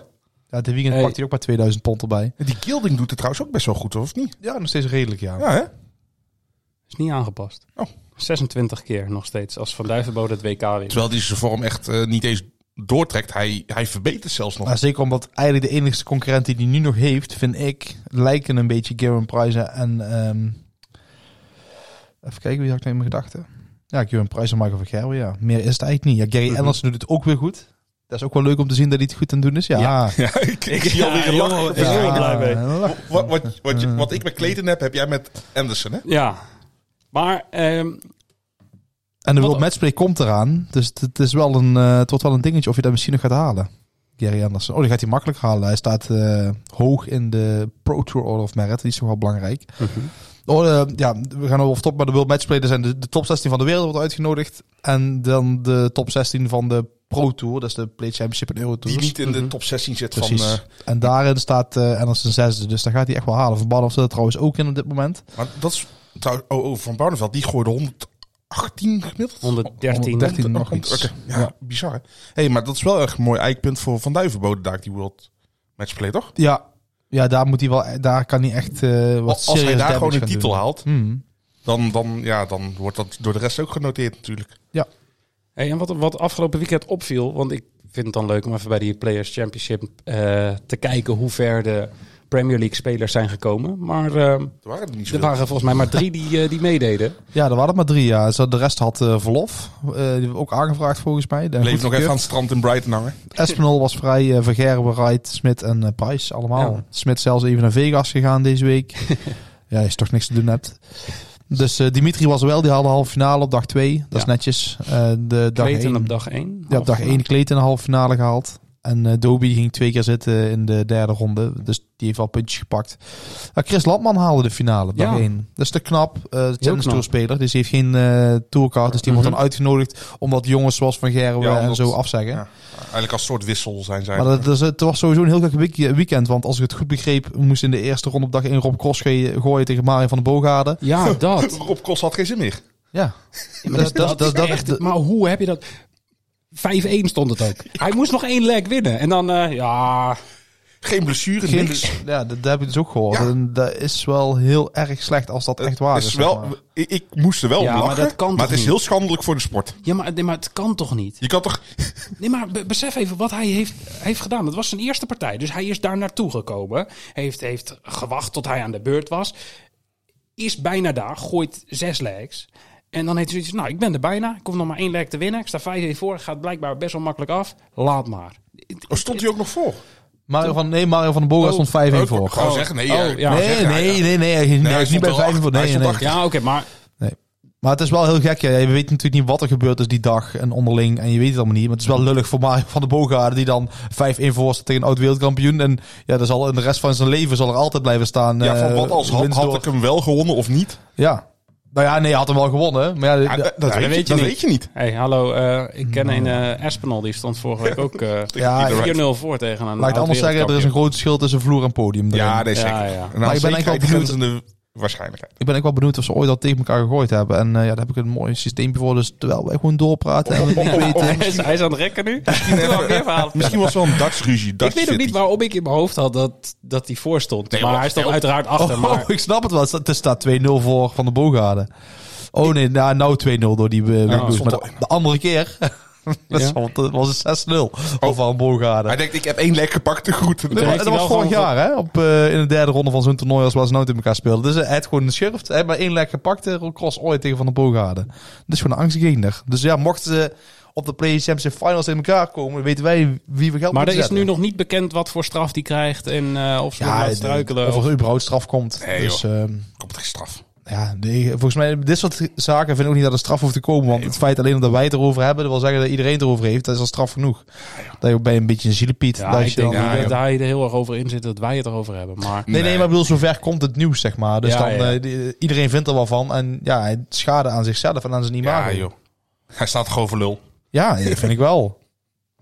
[SPEAKER 7] Ja, dit weekend
[SPEAKER 1] Hey.
[SPEAKER 7] pakt hij ook maar 2000 pond erbij.
[SPEAKER 6] Die Gilding doet het trouwens ook best wel goed, hoor, of niet?
[SPEAKER 7] Ja, nog steeds redelijk, ja.
[SPEAKER 6] Ja, hè?
[SPEAKER 1] is niet aangepast.
[SPEAKER 6] Oh.
[SPEAKER 1] 26 keer nog steeds, als Van Duivenbode het WK wint.
[SPEAKER 6] Terwijl die zijn vorm echt eh, niet eens doortrekt. Hij, hij verbetert zelfs nog.
[SPEAKER 7] Maar zeker omdat eigenlijk de enige concurrent die hij nu nog heeft, vind ik, lijken een beetje Garen Price en... ehm, even kijken, wie had ik nou in mijn gedachten? Ja, Garen Price en Michael van Gerwen, ja. Meer is het eigenlijk niet. Ja, Gary
[SPEAKER 1] Mhm.
[SPEAKER 7] Anderson doet het ook weer goed. Dat is ook wel leuk om te zien dat hij het goed aan het doen is. Ja, ja.
[SPEAKER 6] Ja, ik, ik zie alweer een lach.
[SPEAKER 1] jongen, ik ben er heel blij mee.
[SPEAKER 7] ja.
[SPEAKER 6] Wat, wat, wat, je- wat ik met Clayton heb, heb jij met Anderson, hè?
[SPEAKER 1] Ja, maar ehm,
[SPEAKER 7] En de
[SPEAKER 1] Wat-
[SPEAKER 7] World Matchplay komt eraan. Dus het- het, is wel een, eh, het wordt wel een dingetje of je dat misschien nog gaat halen. Gary Anderson. Oh, die gaat hij makkelijk halen. Hij staat eh, hoog in de Pro Tour Order of Merit. Die is toch wel belangrijk.
[SPEAKER 6] Mhm.
[SPEAKER 7] Oh, eh, ja, we gaan over top, maar de World Matchplay. Er zijn de, de top 16 van de wereld wordt uitgenodigd. En dan de top 16 van de Pro Tour. Dat is de Play Championship en Euro
[SPEAKER 6] Die
[SPEAKER 7] Tour.
[SPEAKER 6] niet in de top 16 zit van...
[SPEAKER 7] Precies.
[SPEAKER 6] eh,
[SPEAKER 7] En daarin staat eh Anderson zesde. Dus daar gaat hij echt wel halen. Van Barnhof zit er trouwens ook in op dit moment.
[SPEAKER 6] Maar dat is trouw- oh, oh, van Barneveld, die gooide 118 gemiddeld.
[SPEAKER 1] 113.
[SPEAKER 7] 113.
[SPEAKER 6] Hond-
[SPEAKER 7] nog
[SPEAKER 6] hond-
[SPEAKER 7] iets.
[SPEAKER 6] oké. Ja, bizar hè? hey, maar dat is wel echt een mooi eikpunt voor Van Duivenboden daar, die World Matchplay, toch?
[SPEAKER 7] Ja, ja daar, moet hij wel, daar kan hij echt eh wat
[SPEAKER 6] Als hij
[SPEAKER 7] serious
[SPEAKER 6] daar
[SPEAKER 7] damage
[SPEAKER 6] gewoon een
[SPEAKER 7] gaan
[SPEAKER 6] titel
[SPEAKER 7] doen.
[SPEAKER 6] haalt,
[SPEAKER 7] Hmm.
[SPEAKER 6] dan, dan, ja, dan wordt dat door de rest ook genoteerd natuurlijk.
[SPEAKER 1] Hey, en wat, wat afgelopen weekend opviel, want ik vind het dan leuk om even bij die Players Championship eh, te kijken hoe ver de Premier League spelers zijn gekomen. Maar eh,
[SPEAKER 6] Er waren er niet
[SPEAKER 1] er
[SPEAKER 6] zoveel.
[SPEAKER 1] waren volgens mij maar drie die, eh, die meededen.
[SPEAKER 7] Ja, er waren er maar drie. Ja. Zo, De rest had eh, verlof. Eh, die hebben we ook aangevraagd volgens mij. Dan
[SPEAKER 6] Bleef nog even
[SPEAKER 7] goedgekeurd.
[SPEAKER 6] aan het strand in Brighton hangen.
[SPEAKER 7] Espinol was vrij. eh, Van Gerwen, Wright, Smit en eh, Price. Allemaal.
[SPEAKER 1] Ja.
[SPEAKER 7] Smit zelfs even naar Vegas gegaan deze week. ja, is toch niks te doen hebt. Dus eh, Dimitri was er wel. Die hadden halve finale op dag 2. Dat is
[SPEAKER 1] Ja.
[SPEAKER 7] netjes. Eh, de dag
[SPEAKER 1] Clayton
[SPEAKER 7] één-
[SPEAKER 1] op dag één. eh,
[SPEAKER 7] Ja, op dag 1 Kleed in de halve finale gehaald. En eh Doby ging twee keer zitten in de derde ronde. Dus die heeft al puntjes gepakt. Eh, Chris Landman haalde de finale, dag
[SPEAKER 1] Ja.
[SPEAKER 7] 1. Dat is te knap. eh Challenge
[SPEAKER 1] knap. Mhm.
[SPEAKER 7] Tour speler. Dus die heeft geen eh tourcard. Dus die wordt dan uitgenodigd omdat jongens zoals Van Gerwen
[SPEAKER 6] Ja,
[SPEAKER 7] en
[SPEAKER 6] omdat-
[SPEAKER 7] zo afzeggen.
[SPEAKER 6] Ja. Eigenlijk als soort wissel zijn zij.
[SPEAKER 7] Maar dat, dat is- het was sowieso een heel gek week- weekend. Want als ik het goed begreep, moest in de eerste ronde op dag 1 Rob Cross ge- gooien tegen Mario van de Boogaarden.
[SPEAKER 1] Ja, dat.
[SPEAKER 6] Rob Kos had geen zin meer.
[SPEAKER 7] Ja.
[SPEAKER 1] maar, dat, dat, is echt- maar hoe heb je dat? 5-1 stond het ook. Hij moest nog één leg winnen. En dan, eh, ja...
[SPEAKER 6] Geen blessure,
[SPEAKER 7] Geen-
[SPEAKER 6] niks.
[SPEAKER 7] ja, dat, dat heb ik dus ook gehoord.
[SPEAKER 6] Ja.
[SPEAKER 7] En dat is wel heel erg slecht als dat echt waar is.
[SPEAKER 6] is
[SPEAKER 7] zeg
[SPEAKER 6] wel,
[SPEAKER 7] maar.
[SPEAKER 6] ik, ik moest er wel
[SPEAKER 1] Ja,
[SPEAKER 6] om
[SPEAKER 1] maar
[SPEAKER 6] lachen, maar,
[SPEAKER 1] dat kan toch
[SPEAKER 6] het is
[SPEAKER 1] niet?
[SPEAKER 6] heel schandelijk voor de sport.
[SPEAKER 1] Ja, maar, nee, maar het kan toch niet?
[SPEAKER 6] Je kan toch...
[SPEAKER 1] Nee, maar be- besef even wat hij heeft, heeft gedaan. Dat was zijn eerste partij. Dus hij is daar naartoe gekomen. Heeft, heeft gewacht tot hij aan de beurt was. Is bijna daar. Gooit zes legs. En dan heeft hij zoiets nou, ik ben er bijna. Ik hoef nog maar één leg te winnen. Ik sta 5-1 voor. Gaat blijkbaar best wel makkelijk af. Laat maar.
[SPEAKER 6] Oh, stond hij ook nog voor?
[SPEAKER 7] Mario van, nee, Mario van den Boga
[SPEAKER 1] Oh.
[SPEAKER 7] stond 5-1
[SPEAKER 6] Oh,
[SPEAKER 7] voor.
[SPEAKER 6] ik wou zeggen, nee.
[SPEAKER 1] Oh,
[SPEAKER 6] eh,
[SPEAKER 1] ja.
[SPEAKER 7] nee,
[SPEAKER 6] zeggen,
[SPEAKER 7] nee,
[SPEAKER 6] ja, ja.
[SPEAKER 7] nee, nee, hij-
[SPEAKER 6] hij
[SPEAKER 7] hij is
[SPEAKER 6] stond
[SPEAKER 7] niet bij
[SPEAKER 6] wel
[SPEAKER 7] 5 voor.
[SPEAKER 6] achter. Hij
[SPEAKER 7] Nee,
[SPEAKER 6] stond
[SPEAKER 7] nee.
[SPEAKER 6] achter.
[SPEAKER 1] Ja, oké, maar
[SPEAKER 7] Maar het is wel heel gek. Ja. Je weet natuurlijk niet wat er gebeurd is die dag en onderling. En je weet het allemaal niet. Maar het is wel lullig voor Mario van de Boogaarden. Die dan 5-1 voor staat tegen een oud wereldkampioen. En ja, dat zal in de rest van zijn leven zal er altijd blijven staan.
[SPEAKER 6] Ja,
[SPEAKER 7] eh,
[SPEAKER 6] van wat als had,
[SPEAKER 7] winst
[SPEAKER 6] had
[SPEAKER 7] door-
[SPEAKER 6] ik hem wel gewonnen of niet?
[SPEAKER 7] Ja. Nou ja, nee, hij had hem wel gewonnen. Maar ja,
[SPEAKER 6] Ja,
[SPEAKER 7] d-
[SPEAKER 6] dat
[SPEAKER 7] dat-
[SPEAKER 6] dat weet, je,
[SPEAKER 1] niet.
[SPEAKER 6] dat weet je niet.
[SPEAKER 1] hey, hallo, eh, ik ken een eh Espinal, die stond vorige week ook eh,
[SPEAKER 7] Nou. Ja,
[SPEAKER 6] Either right.
[SPEAKER 1] 4-0 voor tegen een
[SPEAKER 7] laat ik het anders zeggen, er is
[SPEAKER 1] oud-wereldkampioen.
[SPEAKER 7] een groot verschil tussen vloer en podium. daarin.
[SPEAKER 6] Ja, nee, zeker.
[SPEAKER 1] Ja, ja.
[SPEAKER 6] Een
[SPEAKER 7] Maar ik ben eigenlijk
[SPEAKER 6] aan
[SPEAKER 7] wel
[SPEAKER 6] zekerheid
[SPEAKER 7] benieuwd-
[SPEAKER 6] grenzende waarschijnlijkheid.
[SPEAKER 7] Ik ben ook wel benieuwd of ze ooit al tegen elkaar gegooid hebben. En eh, ja, daar heb ik een mooi systeem voor. Dus terwijl wij gewoon doorpraten en we het niet weten.
[SPEAKER 1] Hij is- Hij is aan het rekken nu. Misschien wel meer verhaal.
[SPEAKER 6] Misschien was het wel een Dutch ruzie. Dutch
[SPEAKER 1] Ik weet ook niet
[SPEAKER 6] fitty.
[SPEAKER 1] waarom ik in mijn hoofd had dat, dat hij voor stond.
[SPEAKER 6] Nee,
[SPEAKER 1] maar,
[SPEAKER 6] maar
[SPEAKER 1] hij stond
[SPEAKER 6] stel-
[SPEAKER 1] uiteraard achter.
[SPEAKER 7] Oh,
[SPEAKER 1] maar
[SPEAKER 7] ik snap het wel. Het staat- Het staat 2-0 voor Van de Boogaarden. Oh nee, nou, nou 2-0 door die eh, Wigboes.
[SPEAKER 6] stond
[SPEAKER 7] Maar
[SPEAKER 6] al-
[SPEAKER 7] de, de andere keer dat
[SPEAKER 1] Ja.
[SPEAKER 7] stond- dat was het 6-0 voor Van Boogaarden.
[SPEAKER 6] Hij denkt, ik heb één lek gepakt, de groeten.
[SPEAKER 1] Ja.
[SPEAKER 7] Maar
[SPEAKER 1] heeft
[SPEAKER 7] dat
[SPEAKER 1] hij
[SPEAKER 7] was
[SPEAKER 1] wel
[SPEAKER 7] vorig
[SPEAKER 1] gewoon-
[SPEAKER 7] jaar, hè? Op, eh, in de derde ronde van zo'n toernooi als waar ze nou tegen elkaar speelden. Dus eh, hij heeft gewoon een schurft. Hij heeft maar één lek gepakt. eh, cross ooit tegen Van de Boogaarden. Dat is gewoon een angstgegner. Dus ja, mochten ze op de Play Championship Finals in elkaar komen, weten wij wie we geld
[SPEAKER 1] maar er
[SPEAKER 7] moeten
[SPEAKER 1] is nu
[SPEAKER 7] zetten.
[SPEAKER 1] nog niet bekend wat voor straf die krijgt. En eh, of ze hem
[SPEAKER 7] ja,
[SPEAKER 1] laat
[SPEAKER 7] struikelen.
[SPEAKER 1] struikelen.
[SPEAKER 7] Of
[SPEAKER 1] of-
[SPEAKER 7] er überhaupt straf komt.
[SPEAKER 6] Nee,
[SPEAKER 7] dus ehm,
[SPEAKER 6] Komt geen straf.
[SPEAKER 7] ja, nee, volgens mij, dit soort zaken vind ik ook niet dat er straf hoeft te komen. Want het feit alleen dat wij het erover hebben, dat wil zeggen dat iedereen het erover heeft, dat is al straf genoeg. Dat je ook bij een beetje een zielepiet.
[SPEAKER 1] ja,
[SPEAKER 7] dat
[SPEAKER 1] ik
[SPEAKER 7] je
[SPEAKER 1] denk
[SPEAKER 7] dan-
[SPEAKER 1] niet
[SPEAKER 6] Ja,
[SPEAKER 1] dat
[SPEAKER 6] joh.
[SPEAKER 1] hij er heel erg over in zit dat wij het erover hebben. Maar
[SPEAKER 7] Nee, nee, maar ik bedoel, zover komt het nieuws, zeg maar. Dus
[SPEAKER 1] Ja,
[SPEAKER 7] dan,
[SPEAKER 1] ja.
[SPEAKER 7] eh, die- iedereen vindt er wel van. En ja, hij schade aan zichzelf en aan zijn
[SPEAKER 6] Ja,
[SPEAKER 7] imago. Ja,
[SPEAKER 6] Ah, joh. Hij staat gewoon voor lul.
[SPEAKER 7] ja dat vind ik wel.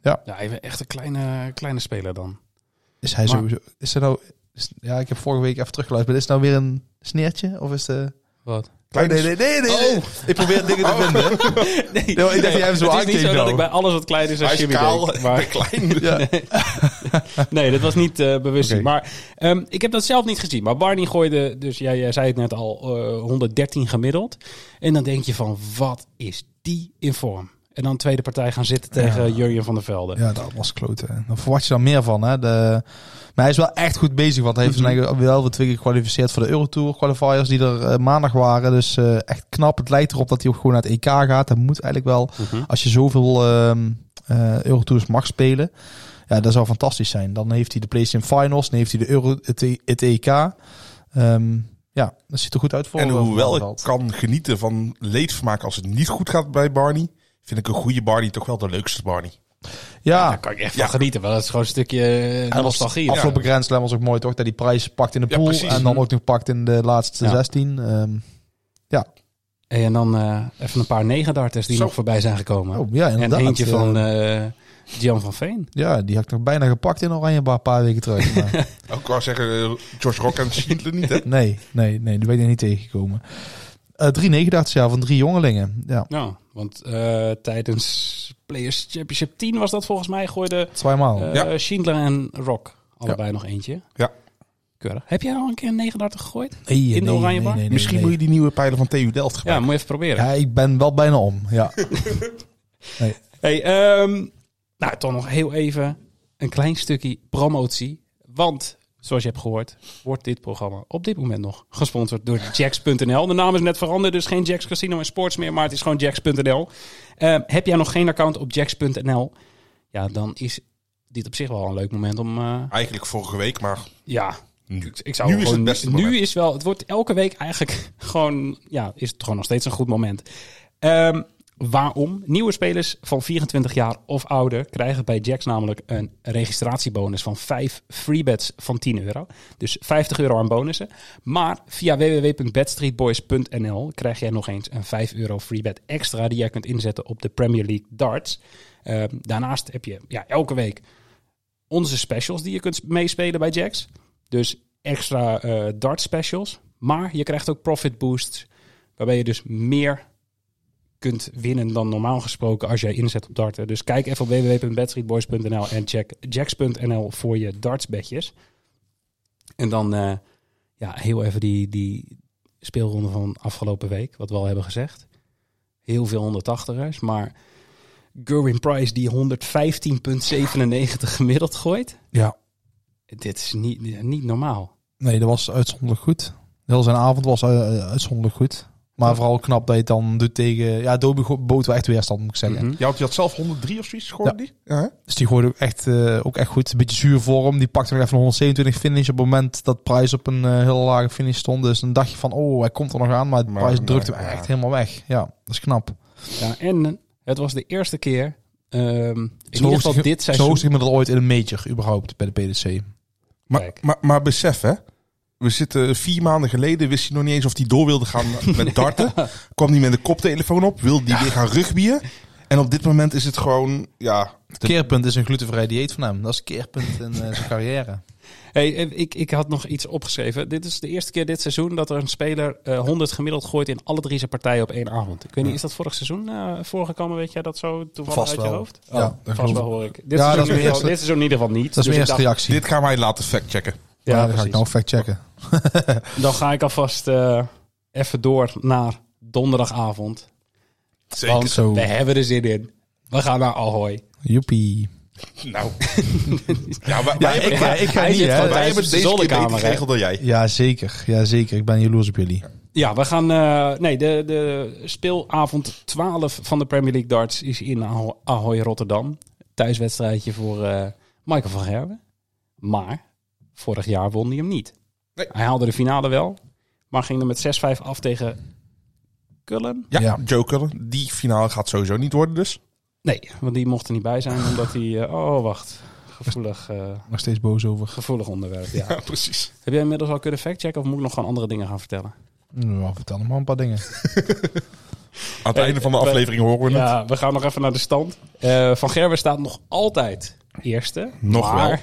[SPEAKER 1] ja, hij is echt een kleine, kleine speler dan.
[SPEAKER 7] Is hij
[SPEAKER 1] Maar-
[SPEAKER 7] sowieso... Is er nou... is- ja, ik heb vorige week even teruggeluisterd. Maar is het nou weer een sneertje? Of is eh, de...
[SPEAKER 1] Wat?
[SPEAKER 7] Nee, nee, nee, nee, nee. nee. Ik probeer dingen
[SPEAKER 6] Oh,
[SPEAKER 7] te vinden.
[SPEAKER 1] Nee,
[SPEAKER 7] Nou, dacht dat jij hem zo
[SPEAKER 1] Het is niet
[SPEAKER 7] aankeek,
[SPEAKER 1] zo dat
[SPEAKER 7] nou.
[SPEAKER 1] ik bij alles wat klein is als
[SPEAKER 6] Hij is
[SPEAKER 1] Jimmy
[SPEAKER 6] kaal
[SPEAKER 1] denk,
[SPEAKER 6] en
[SPEAKER 1] maar-
[SPEAKER 6] klein.
[SPEAKER 7] Ja.
[SPEAKER 1] Nee, dat was niet eh bewust.
[SPEAKER 7] Oké.
[SPEAKER 1] Maar ehm, ik heb dat zelf niet gezien. Maar Barney gooide, dus jij, jij zei het net al, eh, 113 gemiddeld. En dan denk je van, wat is die in vorm? En dan tweede partij gaan zitten tegen Jurjen van der Velde.
[SPEAKER 7] Ja, dat was kloten. Dan verwacht je dan meer van. Hè? De... Maar hij is wel echt goed bezig. Want hij heeft
[SPEAKER 6] Mhm.
[SPEAKER 7] eigenlijk wel weer twee keer gekwalificeerd voor de Eurotour qualifiers. Die er eh, maandag waren. Dus eh, echt knap. Het lijkt erop dat hij ook gewoon naar het EK gaat. Dat moet eigenlijk wel.
[SPEAKER 6] Mhm.
[SPEAKER 7] Als je zoveel ehm eh, Eurotours mag spelen. Ja, dat zou fantastisch zijn. Dan heeft hij de PlayStation Finals. Dan heeft hij de Euro, het, E- het EK. Ehm, ja, dat ziet er goed uit voor
[SPEAKER 6] En
[SPEAKER 7] eh, Van der
[SPEAKER 6] hoewel ik
[SPEAKER 7] Veld.
[SPEAKER 6] kan genieten van leedvermaak als het niet goed gaat bij Barney, vind ik een goede Barney toch wel de leukste Barney.
[SPEAKER 7] Ja,
[SPEAKER 1] Daar kan ik echt
[SPEAKER 6] Ja.
[SPEAKER 1] van genieten. Want dat is gewoon een stukje eh,
[SPEAKER 7] En
[SPEAKER 1] nostalgie.
[SPEAKER 7] was, afgelopen Grand Slam was ook mooi, toch? Dat die prijs pakt in de
[SPEAKER 6] Ja,
[SPEAKER 7] pool
[SPEAKER 6] precies.
[SPEAKER 7] en dan ook nog pakt in de laatste
[SPEAKER 1] Ja.
[SPEAKER 7] 16. Ehm,
[SPEAKER 1] Hey, en dan eh, even een paar negendarters die
[SPEAKER 6] Zo.
[SPEAKER 1] nog voorbij zijn gekomen.
[SPEAKER 7] oh, ja,
[SPEAKER 1] en
[SPEAKER 7] inderdaad.
[SPEAKER 1] eentje
[SPEAKER 7] Eh,
[SPEAKER 1] van eh Jan van Veen.
[SPEAKER 7] ja, die had ik nog bijna gepakt in Oranje een paar weken terug. Maar
[SPEAKER 6] Ook al zeggen eh, George Rock en Schindler niet, hè?
[SPEAKER 7] nee, nee, nee, die ben ik er niet tegengekomen. Eh drie negendaagse jaar van drie jongelingen. Ja,
[SPEAKER 1] Nou, want eh, tijdens Players Championship 10 was dat volgens mij, gooide
[SPEAKER 7] tweemaal.
[SPEAKER 1] eh
[SPEAKER 6] Ja.
[SPEAKER 1] Schindler en Rock allebei nog eentje.
[SPEAKER 6] Ja.
[SPEAKER 1] Keurig. Heb jij al een keer een 39 gegooid?
[SPEAKER 7] Nee, nee,
[SPEAKER 1] in de
[SPEAKER 7] nee,
[SPEAKER 1] Oranje
[SPEAKER 7] nee,
[SPEAKER 1] Bar?
[SPEAKER 7] nee, nee,
[SPEAKER 6] Misschien
[SPEAKER 7] nee.
[SPEAKER 6] moet je die nieuwe pijlen van TU Delft
[SPEAKER 1] Ja,
[SPEAKER 6] gebruiken.
[SPEAKER 1] moet je even proberen.
[SPEAKER 7] Ja, ik ben wel bijna om. Ja.
[SPEAKER 1] Hey, ehm, nou, toch nog heel even een klein stukje promotie. Want, zoals je hebt gehoord, wordt dit programma op dit moment nog gesponsord door Jacks.nl. De naam is net veranderd, dus geen Jacks Casino en Sports meer, maar het is gewoon Jacks.nl. Ehm, heb jij nog geen account op Jacks.nl? Ja, dan is dit op zich wel een leuk moment om... eh,
[SPEAKER 6] Eigenlijk vorige week, maar
[SPEAKER 1] ja,
[SPEAKER 6] nu.
[SPEAKER 1] Ik zou
[SPEAKER 6] nu
[SPEAKER 1] gewoon,
[SPEAKER 6] is het beste
[SPEAKER 1] Nu
[SPEAKER 6] moment.
[SPEAKER 1] is wel, het wordt elke week eigenlijk gewoon, ja, is het gewoon nog steeds een goed moment. Ehm, waarom? Nieuwe spelers van 24 jaar of ouder krijgen bij Jacks namelijk een registratiebonus van 5 freebets van 10 euro. Dus 50 euro aan bonussen. Maar via www.bedstreetboys.nl krijg jij nog eens een 5 euro freebet extra die jij kunt inzetten op de Premier League darts. Ehm, daarnaast heb je ja, elke week onze specials die je kunt meespelen bij Jacks. Dus extra eh, dart specials. Maar je krijgt ook profit boosts. Waarbij je dus meer kunt winnen dan normaal gesproken als jij inzet op darten. Dus kijk even op www.bedstreetboys.nl en check jacks.nl voor je dartsbedjes. En dan eh, ja, heel even die, die speelronde van afgelopen week, wat we al hebben gezegd. Heel veel 180ers, maar Gerwin Price die 115,97 gemiddeld gooit.
[SPEAKER 7] ja.
[SPEAKER 1] Dit is niet, niet normaal.
[SPEAKER 7] Nee, dat was uitzonderlijk goed. Heel zijn avond was eh, uitzonderlijk goed. Maar vooral knap dat je het dan doet tegen... Ja, Dobie go- bood wel echt weerstand, moet ik zeggen.
[SPEAKER 1] Mhm.
[SPEAKER 6] Ja, want die had zelf 103 of zoiets, hoorde die? Ja, hè?
[SPEAKER 7] Dus die gooide ook echt, eh, ook echt goed. Een beetje zuur voor hem. Die pakte nog even een 127 finish op het moment dat Price op een eh, heel lage finish stond. Dus dan dacht je van, oh, hij komt er nog aan. Maar,
[SPEAKER 6] Maar,
[SPEAKER 7] Price
[SPEAKER 6] nee,
[SPEAKER 7] drukte hem
[SPEAKER 6] ja.
[SPEAKER 7] echt helemaal weg. Ja, dat is knap. Mhm.
[SPEAKER 1] Ja, en eh, het was de eerste keer. ehm in
[SPEAKER 7] Zo
[SPEAKER 1] ieder geval dit
[SPEAKER 7] zijn
[SPEAKER 1] seizoen.
[SPEAKER 7] hoogste gemiddelde ooit in een major, überhaupt, bij de PDC.
[SPEAKER 6] Maar,
[SPEAKER 1] Kijk.
[SPEAKER 6] maar, maar besef, hè? We zitten vier maanden geleden, wist hij nog niet eens of hij door wilde gaan met darten. Kwam hij met een koptelefoon op, wilde hij weer gaan rugbyen. En op dit moment is het gewoon, ja,
[SPEAKER 7] Het keerpunt is een glutenvrij dieet van hem. Dat is het keerpunt in eh, zijn carrière.
[SPEAKER 1] Hey, eh, ik, ik had nog iets opgeschreven. Dit is de eerste keer dit seizoen dat er een speler eh, 100 gemiddeld gooit in alle drie zijn partijen op één avond. Ik weet niet, is dat vorig seizoen eh, voorgekomen? Weet jij dat zo toevallig
[SPEAKER 7] Vast
[SPEAKER 1] uit
[SPEAKER 7] wel.
[SPEAKER 1] je hoofd? Oh,
[SPEAKER 7] Ja, dat
[SPEAKER 1] vast
[SPEAKER 7] klopt.
[SPEAKER 1] wel hoor ik. Dit,
[SPEAKER 7] Ja,
[SPEAKER 1] seizoen, in
[SPEAKER 7] dat is mijn
[SPEAKER 1] ieder geval-
[SPEAKER 7] eerste-
[SPEAKER 1] dit seizoen in ieder geval niet.
[SPEAKER 7] Dat is
[SPEAKER 1] Dus
[SPEAKER 7] mijn
[SPEAKER 1] ik
[SPEAKER 7] eerste
[SPEAKER 1] dacht-
[SPEAKER 7] reactie.
[SPEAKER 6] dit gaan wij laten factchecken.
[SPEAKER 7] ja,
[SPEAKER 1] Ja,
[SPEAKER 7] dat ga ik
[SPEAKER 1] precies.
[SPEAKER 7] nou fact checken.
[SPEAKER 1] Dan ga ik alvast eh, even door naar donderdagavond.
[SPEAKER 6] Zeker
[SPEAKER 1] want
[SPEAKER 7] zo.
[SPEAKER 1] we hebben er zin in. We gaan naar Ahoy.
[SPEAKER 7] Joepie.
[SPEAKER 6] Nou. ja, wij,
[SPEAKER 7] Ja,
[SPEAKER 6] wij hebben,
[SPEAKER 7] ik,
[SPEAKER 6] wij,
[SPEAKER 7] eh, ik ga
[SPEAKER 1] Hij
[SPEAKER 7] niet,
[SPEAKER 1] zit
[SPEAKER 7] hè.
[SPEAKER 1] gewoon
[SPEAKER 6] wij
[SPEAKER 1] thuis
[SPEAKER 6] hebben
[SPEAKER 1] op zijn
[SPEAKER 6] het deze keer beter
[SPEAKER 1] zolderkamer, hè?
[SPEAKER 6] geregeld dan jij.
[SPEAKER 7] Ja, zeker. Ja, zeker. Ik ben jaloers op jullie.
[SPEAKER 1] Ja, we gaan. eh, nee, de, de speelavond 12 van de Premier League Darts is in Aho- Ahoy Rotterdam. Thuiswedstrijdje voor eh, Michael van Gerwen. Maar vorig jaar won hij hem niet.
[SPEAKER 6] Nee.
[SPEAKER 1] Hij haalde de finale wel, maar ging er met 6-5 af tegen Cullen.
[SPEAKER 6] Ja,
[SPEAKER 7] Ja.
[SPEAKER 6] Joker, die finale gaat sowieso niet worden dus.
[SPEAKER 1] Nee, want die mocht er niet bij zijn, omdat hij. eh, oh, wacht. Gevoelig, eh,
[SPEAKER 7] Nog steeds boos over.
[SPEAKER 1] gevoelig onderwerp. Ja.
[SPEAKER 6] Ja, precies.
[SPEAKER 1] Heb jij inmiddels al kunnen factchecken of moet ik nog gewoon andere dingen gaan vertellen?
[SPEAKER 7] Nou, vertel nog maar een paar dingen.
[SPEAKER 6] Aan het einde van de
[SPEAKER 1] eh,
[SPEAKER 6] aflevering horen we het.
[SPEAKER 1] Ja, we gaan nog even naar de stand. Eh, van Gerwen staat nog altijd eerste.
[SPEAKER 6] Nog
[SPEAKER 1] maar,
[SPEAKER 6] wel.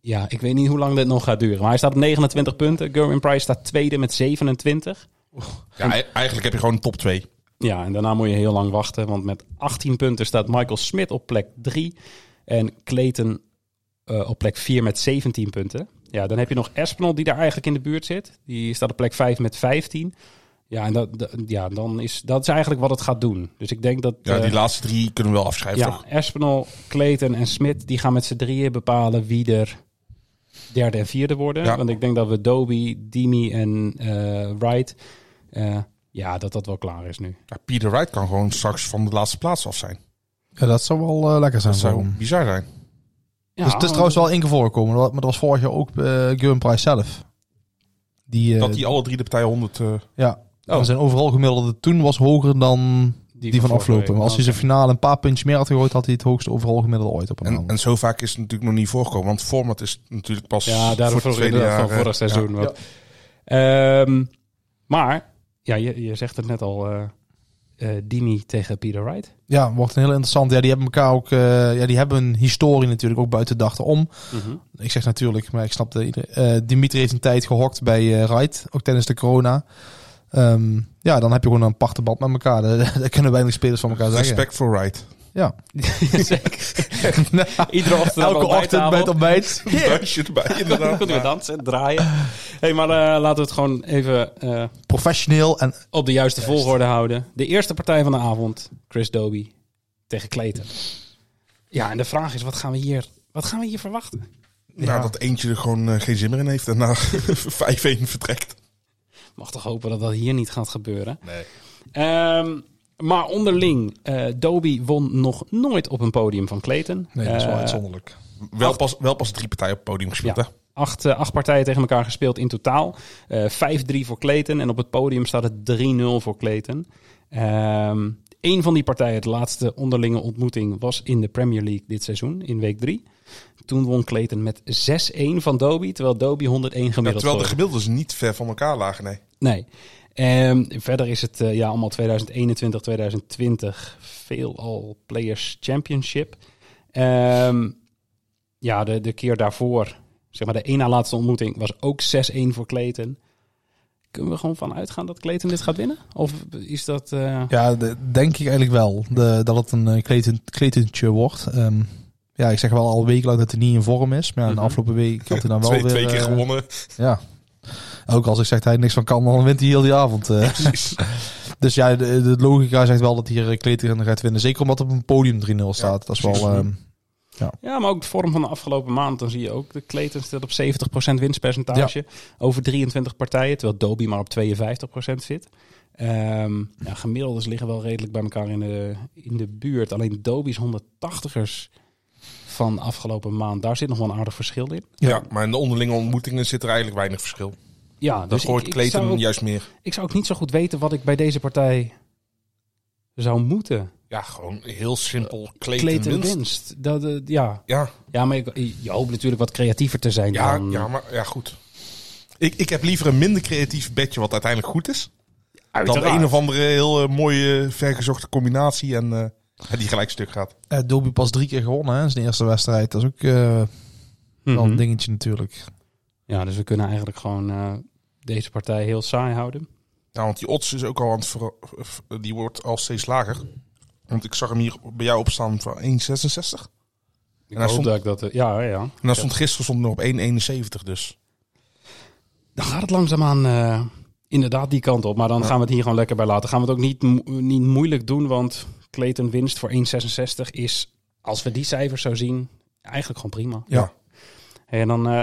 [SPEAKER 1] Ja, ik weet niet hoe lang dit nog gaat duren. Maar hij staat op 29 punten. Gerwin Price staat tweede met 27.
[SPEAKER 6] Ja, e- eigenlijk heb je gewoon een top 2.
[SPEAKER 1] Ja, en daarna moet je heel lang wachten. Want met 18 punten staat Michael Smit op plek 3. En Clayton eh, op plek 4 met 17 punten. Ja, dan heb je nog Espinol die daar eigenlijk in de buurt zit. Die staat op plek 5 met 15. Ja, en dat, dat- ja, dan is, dat is eigenlijk wat het gaat doen. Dus ik denk dat...
[SPEAKER 6] Ja,
[SPEAKER 1] eh,
[SPEAKER 6] die laatste drie kunnen we wel afschrijven,
[SPEAKER 1] Ja,
[SPEAKER 6] toch?
[SPEAKER 1] Espinol, Clayton en Smit die gaan met z'n drieën bepalen wie er derde en vierde worden.
[SPEAKER 6] Ja.
[SPEAKER 1] Want ik denk dat we Doby, Dimi en eh, Wright, eh, ja, dat dat wel klaar is
[SPEAKER 7] Dus
[SPEAKER 1] nu.
[SPEAKER 6] Ja, Peter Wright kan gewoon straks van de laatste plaats af zijn.
[SPEAKER 7] Ja, dat zou wel eh, lekker zijn
[SPEAKER 6] Dat
[SPEAKER 7] voor
[SPEAKER 6] zou
[SPEAKER 7] hem.
[SPEAKER 6] bizar zijn.
[SPEAKER 1] Ja,
[SPEAKER 7] dus
[SPEAKER 1] Ah.
[SPEAKER 7] het is trouwens wel één keer voorkomen. Maar dat was vorig jaar ook eh Gurren Price zelf. Die, eh,
[SPEAKER 6] Dat die alle drie de partijen 100... eh,
[SPEAKER 7] Ja. En zijn overal gemiddelde toen was hoger dan die, van
[SPEAKER 1] vorige
[SPEAKER 7] afgelopen.
[SPEAKER 1] week.
[SPEAKER 7] Maar als hij zijn
[SPEAKER 1] Oké.
[SPEAKER 7] finale een paar puntjes meer had gegooid, had hij het hoogste overal gemiddelde ooit op een
[SPEAKER 6] en,
[SPEAKER 7] avond.
[SPEAKER 6] en zo vaak is het natuurlijk nog niet voorkomen. Want format is natuurlijk pas
[SPEAKER 1] Ja, daarom
[SPEAKER 6] voor
[SPEAKER 1] vroeg
[SPEAKER 6] het
[SPEAKER 1] ik
[SPEAKER 6] tweede
[SPEAKER 1] dat
[SPEAKER 6] jaar.
[SPEAKER 1] van
[SPEAKER 6] eh,
[SPEAKER 1] vorig
[SPEAKER 6] ja.
[SPEAKER 1] seizoen. want- Ehm, maar, ja, je, je zegt het net al, eh eh, Dimi tegen Peter Wright.
[SPEAKER 7] Ja, wordt een heel interessant. Ja, die hebben elkaar ook. eh, ja, die hebben een historie natuurlijk ook buiten de dag om. Ik zeg natuurlijk, maar ik snap dat iedereen. eh, Dimitri heeft een tijd gehokt bij eh Wright, ook tijdens de corona. Ehm, ja, dan heb je gewoon een aparte band met elkaar. Daar, daar kunnen weinig spelers van elkaar zeggen.
[SPEAKER 6] Respect voor Wright.
[SPEAKER 7] Ja.
[SPEAKER 1] Zeker. Iedere ochtend aan
[SPEAKER 7] Elke
[SPEAKER 1] de
[SPEAKER 7] ochtend
[SPEAKER 1] ontbijttafel.
[SPEAKER 7] bij het ontbijt.
[SPEAKER 6] Buisje erbij, inderdaad.
[SPEAKER 1] Kunnen we dansen, draaien. hey, maar eh, laten we het gewoon even eh,
[SPEAKER 7] Professioneel en
[SPEAKER 1] op de juiste volgorde houden. De eerste partij van de avond, Chris Doby tegen Clayton. Ja, en de vraag is, wat gaan we hier, wat gaan we hier verwachten?
[SPEAKER 6] Nou, dat eentje er gewoon eh, geen zin meer in heeft en na 5-1 vertrekt.
[SPEAKER 1] Mag toch hopen dat dat hier niet gaat gebeuren.
[SPEAKER 6] Nee.
[SPEAKER 1] Ehm, maar onderling, eh Doby won nog nooit op een podium van Clayton.
[SPEAKER 7] Nee, dat is wel
[SPEAKER 1] Eh,
[SPEAKER 7] uitzonderlijk.
[SPEAKER 6] Wel pas, wel pas drie partijen op het podium gespeeld,
[SPEAKER 1] Ja.
[SPEAKER 6] hè?
[SPEAKER 1] Acht, eh, acht partijen tegen elkaar gespeeld in totaal. Eh 5-3 voor Clayton. En op het podium staat het 3-0 voor Clayton. Ehm Eén van die partijen, de laatste onderlinge ontmoeting, was in de Premier League dit seizoen, in week 3. Toen won Clayton met 6-1 van Doby, terwijl Doby 101
[SPEAKER 6] Ja,
[SPEAKER 1] gemiddeld
[SPEAKER 6] terwijl de
[SPEAKER 1] scoorde.
[SPEAKER 6] gemiddeldes niet ver van elkaar lagen, nee.
[SPEAKER 1] Nee. Ehm, verder is het eh, ja, allemaal 2021, 2020 veelal Players Championship. Ehm, ja, de, de keer daarvoor, zeg maar de één na laatste ontmoeting, was ook 6-1 voor Clayton. Kunnen we gewoon van uitgaan dat Clayton dit gaat winnen? Of is dat... eh,
[SPEAKER 7] Ja, de- denk ik eigenlijk wel. De, dat het een eh, kleten- kletentje wordt. Ehm, ja, ik zeg wel al weken lang dat hij niet in vorm is. Maar ja, de
[SPEAKER 1] Mhm.
[SPEAKER 7] afgelopen week had hij dan wel
[SPEAKER 6] twee,
[SPEAKER 7] weer...
[SPEAKER 6] twee keer
[SPEAKER 7] eh,
[SPEAKER 6] gewonnen.
[SPEAKER 7] Ja. Ook als ik zeg dat hij niks van kan, dan wint hij heel die avond. eh. dus ja, de, de logica zegt wel dat hier eh, Kleten gaat winnen. Zeker omdat op een podium 3-0 staat. dat is wel... ehm,
[SPEAKER 1] Ja, maar ook de vorm van de afgelopen maand. Dan zie je ook, de Clayton staat op 70% winstpercentage. Over 23 partijen, terwijl Doby maar op 52% zit. Ehm ja, gemiddeldes liggen wel redelijk bij elkaar in de, in de buurt. Alleen Doby's 180ers van afgelopen maand, daar zit nog wel een aardig verschil in.
[SPEAKER 6] Ja. maar in de onderlinge ontmoetingen zit er eigenlijk weinig verschil.
[SPEAKER 1] Ja,
[SPEAKER 6] Dat
[SPEAKER 1] dus ik-
[SPEAKER 6] hoort
[SPEAKER 1] ik,
[SPEAKER 6] Kleten
[SPEAKER 1] zou ook,
[SPEAKER 6] juist meer.
[SPEAKER 1] ik zou ook niet zo goed weten wat ik bij deze partij zou moeten.
[SPEAKER 6] Ja, gewoon heel simpel Kleten,
[SPEAKER 1] Clayton
[SPEAKER 6] winst.
[SPEAKER 1] winst. Dat, eh, ja.
[SPEAKER 6] Ja,
[SPEAKER 1] ja, mm. maar ik- je hoopt natuurlijk wat creatiever te zijn
[SPEAKER 6] ja,
[SPEAKER 1] dan...
[SPEAKER 6] ja, maar ja, goed. Ik, ik heb liever een minder creatief bedje wat uiteindelijk goed is. Dan
[SPEAKER 1] Uiteraard.
[SPEAKER 6] een of andere heel eh, mooie vergezochte combinatie en eh, die gelijk stuk gaat.
[SPEAKER 7] Eh Dolby pas drie keer gewonnen hè, zijn eerste wedstrijd. Dat is ook eh, wel een
[SPEAKER 1] Mhm.
[SPEAKER 7] dingetje natuurlijk.
[SPEAKER 1] Ja, dus we kunnen eigenlijk gewoon eh, deze partij heel saai houden.
[SPEAKER 6] Ja, Nou, want die odds is ook al aan het ver- v- die wordt al steeds lager. Want ik zag hem hier bij jou opstaan van 1,66.
[SPEAKER 1] Ik
[SPEAKER 6] En hij
[SPEAKER 1] hoop
[SPEAKER 6] stond-
[SPEAKER 1] dat ik dat... eh, Ja, ja.
[SPEAKER 6] En dat stond gisteren stond het nog op 1,71 dus.
[SPEAKER 1] Dan gaat het langzaamaan eh inderdaad die kant op. Maar dan gaan we het hier gewoon lekker bij laten. Gaan we het ook niet, mo- niet moeilijk doen, want Clayton winst voor 1,66 is, als we die cijfers zo zien, eigenlijk gewoon prima.
[SPEAKER 6] Ja.
[SPEAKER 1] En dan, eh,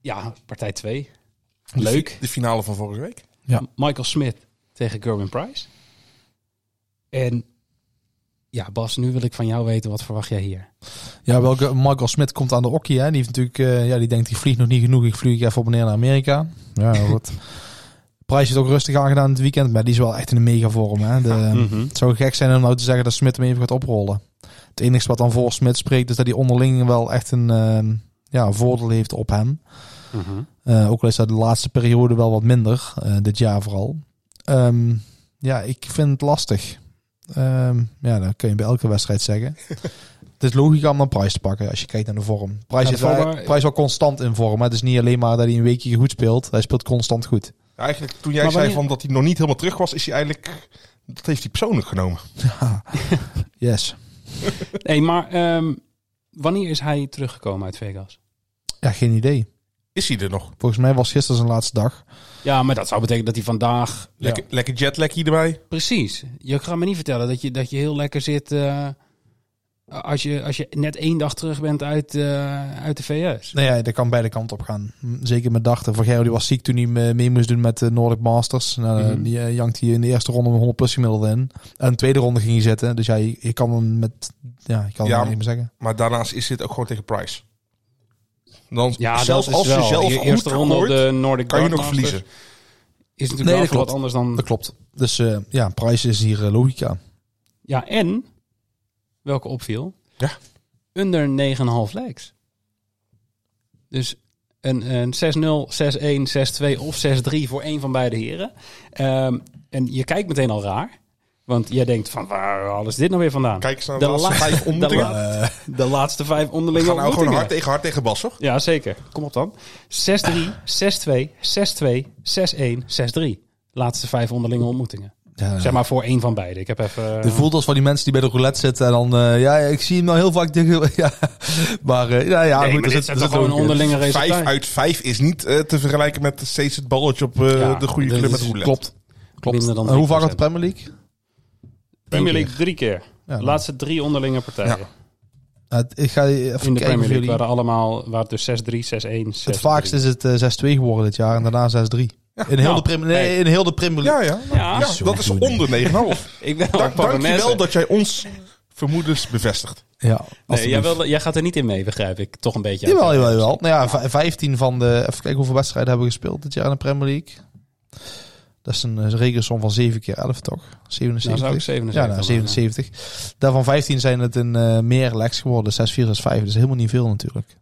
[SPEAKER 1] ja, partij 2.
[SPEAKER 6] Dus De fi-
[SPEAKER 1] Leuk.
[SPEAKER 6] De finale van vorige week.
[SPEAKER 7] Ja.
[SPEAKER 1] Michael Smith tegen Gerwin Price. En ja, Bas, nu wil ik van jou weten, wat verwacht jij hier?
[SPEAKER 7] Ja, welke Michael Smit komt aan de okkie. Hè? Die heeft natuurlijk, eh, ja, die denkt die vliegt nog niet genoeg. Ik vlieg even op en neer naar Amerika. Ja, goed. Prijs heeft ook rustig aangedaan dit weekend, maar die is wel echt in een mega vorm. Hè? De,
[SPEAKER 1] Mhm.
[SPEAKER 7] Het zou gek zijn om nou te zeggen dat Smit hem even gaat oprollen. Het enige wat dan voor Smit spreekt is dat hij onderling wel echt een eh, ja, voordeel heeft op hem.
[SPEAKER 1] Mhm.
[SPEAKER 7] Eh, ook al is dat de laatste periode wel wat minder, eh, dit jaar vooral. Ehm, ja, ik vind het lastig. Ehm, ja, dat kun je bij elke wedstrijd zeggen. het is logica om dan prijs te pakken als je kijkt naar de vorm. Prijs
[SPEAKER 1] Ja, de
[SPEAKER 7] is
[SPEAKER 1] vorm,
[SPEAKER 7] wel-
[SPEAKER 1] maar-
[SPEAKER 7] Prijs wel constant in vorm. hè. Het is niet alleen maar dat hij een weekje goed speelt. Hij speelt constant goed.
[SPEAKER 6] Ja, Eigenlijk toen jij
[SPEAKER 1] Maar
[SPEAKER 6] zei
[SPEAKER 1] wanneer-
[SPEAKER 6] van dat hij nog niet helemaal terug was, is hij eigenlijk... Dat heeft hij persoonlijk genomen.
[SPEAKER 7] Yes.
[SPEAKER 1] Nee, maar ehm, wanneer is hij teruggekomen uit Vegas?
[SPEAKER 7] Ja, geen idee.
[SPEAKER 6] Is hij er nog?
[SPEAKER 7] Volgens mij was gisteren zijn laatste dag.
[SPEAKER 1] Ja, maar dat zou betekenen dat hij vandaag
[SPEAKER 6] Lekker, lekker jetlagje erbij.
[SPEAKER 1] Precies. Je gaat me niet vertellen dat je, dat je heel lekker zit eh, als, je, als je net één dag terug bent uit, eh, uit de VS.
[SPEAKER 7] Nou ja, dat kan beide kanten op gaan. M, Zeker met dachten. Van Gerro die was ziek toen hij me- mee moest doen met de Nordic Masters. Nou, eh,
[SPEAKER 1] Mhm.
[SPEAKER 7] Die eh, jankt hij in de eerste ronde een 100 plus gemiddelde in. En de tweede ronde ging hij zitten. Dus ja, je, je kan hem met... Ja, je kan
[SPEAKER 6] Ja,
[SPEAKER 7] hem niet meer zeggen.
[SPEAKER 6] Maar daarnaast is dit ook gewoon tegen Price. Dan,
[SPEAKER 1] Ja,
[SPEAKER 6] zelfs
[SPEAKER 1] dat is
[SPEAKER 6] als je
[SPEAKER 1] wel.
[SPEAKER 6] zelf
[SPEAKER 1] je
[SPEAKER 6] goed
[SPEAKER 1] eerste ronde op
[SPEAKER 6] gooit,
[SPEAKER 1] de Nordic
[SPEAKER 6] kan je nog
[SPEAKER 1] Dartmasters
[SPEAKER 6] verliezen.
[SPEAKER 1] Is
[SPEAKER 7] Nee,
[SPEAKER 1] natuurlijk wel
[SPEAKER 7] dat
[SPEAKER 1] veel wat
[SPEAKER 7] klopt.
[SPEAKER 1] anders
[SPEAKER 7] Dat
[SPEAKER 1] dan...
[SPEAKER 7] klopt. Dus eh, ja, Price is hier eh, logica.
[SPEAKER 1] Ja, en, welke opviel?
[SPEAKER 6] Ja.
[SPEAKER 1] Under 9,5 legs. Dus een, een 6-0, 6-1, 6-2 of 6-3 voor één van beide heren. Ehm, en je kijkt meteen al raar. Want jij denkt van, waar haal is dit nou weer vandaan?
[SPEAKER 6] Kijk eens naar de,
[SPEAKER 1] De
[SPEAKER 6] laatste
[SPEAKER 1] laatste-
[SPEAKER 6] vijf
[SPEAKER 1] de
[SPEAKER 6] ontmoetingen.
[SPEAKER 1] laatste-
[SPEAKER 7] Eh,
[SPEAKER 1] De laatste vijf
[SPEAKER 6] We
[SPEAKER 1] onderlinge
[SPEAKER 6] gaan nou gewoon
[SPEAKER 1] ontmoetingen.
[SPEAKER 6] hard tegen hard tegen Bas, hoor.
[SPEAKER 1] Ja, zeker. Kom op dan. 6-3, 6-2, 6-2, 6-1, 6-3. Laatste vijf onderlinge ontmoetingen.
[SPEAKER 7] ja.
[SPEAKER 1] Zeg maar voor één van beide. Ik heb even... eh,
[SPEAKER 7] Het voelt als van die mensen die bij de roulette zitten en dan... eh, ja, ik zie hem nou heel vaak tegen... Ja, maar eh, ja, ja,
[SPEAKER 1] Nee,
[SPEAKER 7] goed.
[SPEAKER 1] maar
[SPEAKER 7] er
[SPEAKER 1] dit
[SPEAKER 7] zit-
[SPEAKER 1] zijn
[SPEAKER 7] er
[SPEAKER 1] toch
[SPEAKER 7] zit
[SPEAKER 1] gewoon
[SPEAKER 7] ook eh, in.
[SPEAKER 1] onderlinge
[SPEAKER 6] Vijf
[SPEAKER 1] resultaten.
[SPEAKER 6] uit vijf is niet eh, te vergelijken met steeds het balletje op eh,
[SPEAKER 1] Ja,
[SPEAKER 6] de goede
[SPEAKER 1] dit
[SPEAKER 6] club met
[SPEAKER 1] is-
[SPEAKER 6] roulette.
[SPEAKER 7] Klopt. klopt.
[SPEAKER 1] Minder dan
[SPEAKER 7] En Eh, hoe vaak
[SPEAKER 1] 3%.
[SPEAKER 7] had de Premier League?
[SPEAKER 1] Premier League drie keer.
[SPEAKER 7] Ja,
[SPEAKER 1] Laatste drie onderlinge partijen.
[SPEAKER 7] Eh, ik ga even
[SPEAKER 1] In de
[SPEAKER 7] kijken
[SPEAKER 1] Premier
[SPEAKER 7] voor
[SPEAKER 1] League
[SPEAKER 7] jullie.
[SPEAKER 1] waren allemaal... Waren dus 6-3, 6-1, 6
[SPEAKER 7] Het vaakst is het eh, 6-2 geworden dit jaar en daarna 6-3. in, heel
[SPEAKER 1] Nou,
[SPEAKER 7] de Premier- nee,
[SPEAKER 1] hey.
[SPEAKER 7] in heel de Premier League.
[SPEAKER 6] Ja, ja.
[SPEAKER 1] Ja.
[SPEAKER 6] Ja, dat is onder 9,5.
[SPEAKER 1] Ik ben
[SPEAKER 6] Dank,
[SPEAKER 1] van de
[SPEAKER 6] dankjewel
[SPEAKER 1] mensen.
[SPEAKER 6] dat jij ons vermoedens bevestigt.
[SPEAKER 7] Ja,
[SPEAKER 1] Nee, jij,
[SPEAKER 7] alsjeblieft.
[SPEAKER 1] wilde- jij gaat er niet in mee, begrijp ik. Toch een beetje.
[SPEAKER 7] Jawel, jawel, jawel. Nou ja, v- 15 van de... Even kijken hoeveel wedstrijden hebben we gespeeld dit jaar in de Premier League. Dat is een eh, rekensom van 7 keer 11, toch? 77.
[SPEAKER 1] Nou, zou ik 77
[SPEAKER 7] ja, nou,
[SPEAKER 1] maken,
[SPEAKER 7] 77. Daarvan 15 zijn het in eh, meer legs geworden. 6, 4, 6, 5. Dat is helemaal niet veel natuurlijk.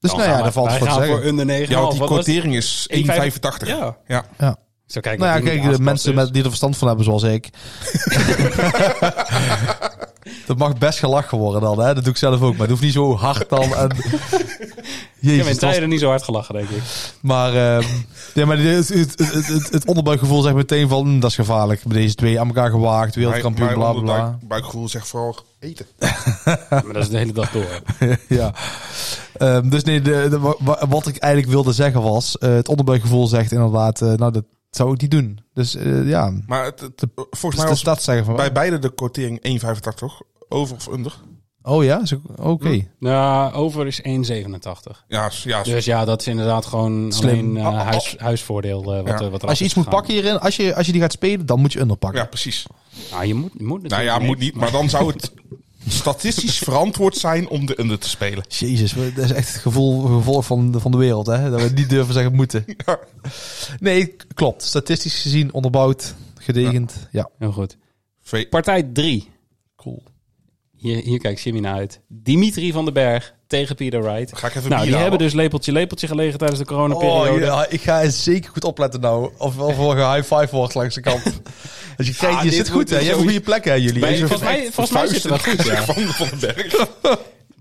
[SPEAKER 7] Dus nou ja, daar valt
[SPEAKER 1] Wij
[SPEAKER 7] wat te
[SPEAKER 1] gaan
[SPEAKER 7] zeggen.
[SPEAKER 1] voor under 9,5.
[SPEAKER 6] Ja, want die
[SPEAKER 1] Wat was-
[SPEAKER 6] quotering is 1,85.
[SPEAKER 1] Ja.
[SPEAKER 6] Ja.
[SPEAKER 7] Ja.
[SPEAKER 1] Zo kijken
[SPEAKER 7] Nou ja,
[SPEAKER 1] wat die
[SPEAKER 7] kijk, de
[SPEAKER 1] aangepast
[SPEAKER 7] mensen
[SPEAKER 1] is.
[SPEAKER 7] met, die er verstand van hebben, zoals ik. dat mag best gelachen worden dan, hè? Dat doe ik zelf ook, maar het hoeft niet zo hard dan. En...
[SPEAKER 1] Ik
[SPEAKER 7] Jezus,
[SPEAKER 1] heb in
[SPEAKER 7] het was-
[SPEAKER 1] tijden niet zo hard gelachen, denk ik.
[SPEAKER 7] maar, ehm, ja, maar het, het, het, het, het onderbuikgevoel zegt meteen van, hm, dat is gevaarlijk. Met deze twee aan elkaar gewaagd, wereldkampioen,
[SPEAKER 6] Mijn-
[SPEAKER 7] bla
[SPEAKER 6] mijn
[SPEAKER 7] bla bla.
[SPEAKER 6] onderbuik- buikgevoel zegt vooral eten.
[SPEAKER 1] Maar dat is de hele dag door.
[SPEAKER 7] ja. Ehm, dus nee, de, de- wa- wa- wat ik eigenlijk wilde zeggen was, eh, het onderbuikgevoel zegt inderdaad, eh, nou dat zou ik niet doen. Dus eh, ja,
[SPEAKER 6] Maar het, het- volgens
[SPEAKER 7] dus
[SPEAKER 6] mij
[SPEAKER 7] de
[SPEAKER 6] was
[SPEAKER 7] stad zeggen van,
[SPEAKER 6] bij beide de quotering 1,85, toch? Over of under?
[SPEAKER 7] oh ja, Zo- oké.
[SPEAKER 6] Hm?
[SPEAKER 1] Nou, over is 1,87.
[SPEAKER 6] Ja, s- ja. s-
[SPEAKER 1] Dus ja, dat is inderdaad gewoon
[SPEAKER 7] Slim.
[SPEAKER 1] alleen eh,
[SPEAKER 7] Ah, ah, ah.
[SPEAKER 1] huis, huisvoordeel. eh, wat,
[SPEAKER 6] Oh, Ja.
[SPEAKER 1] eh, wat eraf
[SPEAKER 7] Als je
[SPEAKER 1] is
[SPEAKER 7] iets moet
[SPEAKER 1] gegaan.
[SPEAKER 7] pakken hierin, als je, als je die gaat spelen, dan moet je under pakken.
[SPEAKER 6] ja, precies.
[SPEAKER 1] Nou, je moet, je moet
[SPEAKER 6] Nou ja,
[SPEAKER 1] natuurlijk
[SPEAKER 6] moet niet. Maar dan zou het statistisch verantwoord zijn om de under te spelen.
[SPEAKER 7] Jezus, we- dat is echt het gevoel, gevolg van de, van de wereld, hè? Dat we niet durven zeggen moeten. Nee, klopt. Statistisch gezien onderbouwd, gedegend. Ja,
[SPEAKER 1] Heel goed.
[SPEAKER 6] Twee-
[SPEAKER 1] Partij 3.
[SPEAKER 7] cool.
[SPEAKER 1] Hier, hier kijkt Jimmy naar uit. Dimitri van den Berg tegen Peter Wright.
[SPEAKER 6] Ga ik even
[SPEAKER 1] nou,
[SPEAKER 6] bier
[SPEAKER 1] die hebben
[SPEAKER 6] halen.
[SPEAKER 1] dus lepeltje lepeltje gelegen tijdens de coronaperiode.
[SPEAKER 7] Oh, ja, ik ga eens zeker goed opletten nou. Of wel voor een high five wordt langs de kant. Dus je, kijkt,
[SPEAKER 6] Ah,
[SPEAKER 7] je
[SPEAKER 6] dit
[SPEAKER 7] zit goed,
[SPEAKER 6] moet
[SPEAKER 7] hè? Je hebt een
[SPEAKER 6] sowieso-
[SPEAKER 7] goede plek, hè, jullie? Dus
[SPEAKER 1] Bij-
[SPEAKER 7] Je
[SPEAKER 1] volgens mij, volgens mij zit het wel goed, ja.
[SPEAKER 6] Van Van den Berg.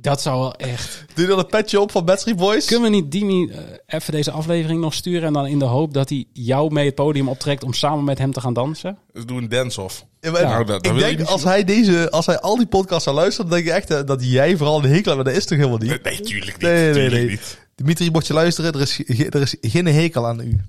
[SPEAKER 1] Dat zou wel echt...
[SPEAKER 7] Doe je dan een petje op van Battery Boys?
[SPEAKER 1] Kunnen we niet Dimi eh, even deze aflevering nog sturen... en dan in de hoop dat hij jou mee het podium optrekt... om samen met hem te gaan dansen?
[SPEAKER 6] Dus doe een dance-off.
[SPEAKER 7] Ja, maar
[SPEAKER 1] Ja,
[SPEAKER 6] nou, dat- dat
[SPEAKER 7] ik
[SPEAKER 6] wil je
[SPEAKER 7] denk,
[SPEAKER 6] niet
[SPEAKER 7] als hij, deze, als hij al die podcasts zou luisteren, dan denk ik echt eh, dat jij vooral een hekel hebt. Maar dat is toch helemaal niet?
[SPEAKER 6] Nee, tuurlijk niet.
[SPEAKER 7] Nee, nee, nee.
[SPEAKER 6] tuurlijk
[SPEAKER 7] nee.
[SPEAKER 6] niet.
[SPEAKER 7] Dimitri, mocht je luisteren, er is, ge- er is geen hekel aan u.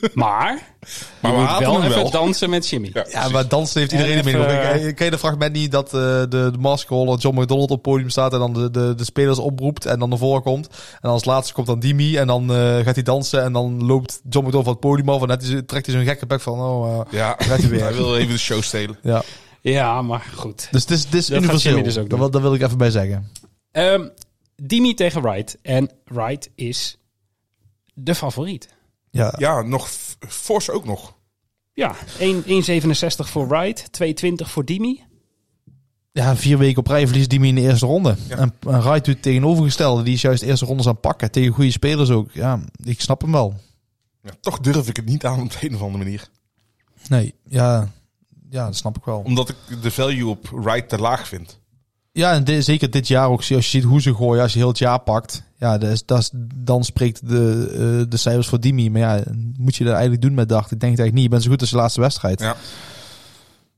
[SPEAKER 1] Maar
[SPEAKER 6] Maar
[SPEAKER 1] je
[SPEAKER 6] we
[SPEAKER 1] moet
[SPEAKER 6] haten
[SPEAKER 1] wel
[SPEAKER 6] hem
[SPEAKER 1] even
[SPEAKER 6] wel.
[SPEAKER 1] dansen met Jimmy.
[SPEAKER 6] Ja,
[SPEAKER 7] Dus Ja,
[SPEAKER 6] precies.
[SPEAKER 7] maar dansen heeft iedereen
[SPEAKER 1] En
[SPEAKER 7] ermee.
[SPEAKER 1] even-
[SPEAKER 7] mee. Ik- ik- Ken je dat fragment niet dat eh, de, de maskerholder John McDonald op het podium staat en dan de, de, de spelers oproept en dan naar voren komt. En als laatste komt dan Dimi en dan eh, gaat hij dansen en dan loopt John McDonald van het podium af en net is- trekt hij zo'n gekke bek van, oh, eh,
[SPEAKER 6] Ja,
[SPEAKER 7] gaat hij
[SPEAKER 6] hij
[SPEAKER 7] weer.
[SPEAKER 6] wil even de show stelen.
[SPEAKER 7] Ja,
[SPEAKER 1] Ja, maar goed.
[SPEAKER 7] dus het is, het is
[SPEAKER 1] gaat
[SPEAKER 7] universeel.
[SPEAKER 1] Jimmy dus ook
[SPEAKER 7] dat,
[SPEAKER 1] doen.
[SPEAKER 7] wil- dat wil ik even bij zeggen.
[SPEAKER 1] Ehm Dimi tegen Wright. En Wright is de favoriet.
[SPEAKER 7] Ja,
[SPEAKER 6] Ja, nog f- Force ook nog.
[SPEAKER 1] Ja, 1 1,67 voor Wright, 2,20 voor Dimi.
[SPEAKER 7] ja vier weken op rij verliest Dimi in de eerste ronde. En, en Wright doet het tegenovergestelde. Die is juist de eerste rondes aan het pakken. Tegen goede spelers ook. Ja, ik snap hem wel.
[SPEAKER 6] Ja, toch durf ik het niet aan op de een of andere manier.
[SPEAKER 7] Nee, ja, ja dat snap ik wel.
[SPEAKER 6] Omdat ik de value op Wright te laag vind.
[SPEAKER 7] Ja, en di- zeker dit jaar ook. Als je ziet hoe ze gooien, als je heel het jaar pakt. Ja, dat is, dat is- dan spreekt de, eh, de cijfers voor Dimi. Maar ja, moet je dat eigenlijk doen met dacht? Ik denk het eigenlijk niet. Je bent zo goed als je laatste wedstrijd.
[SPEAKER 6] Ja.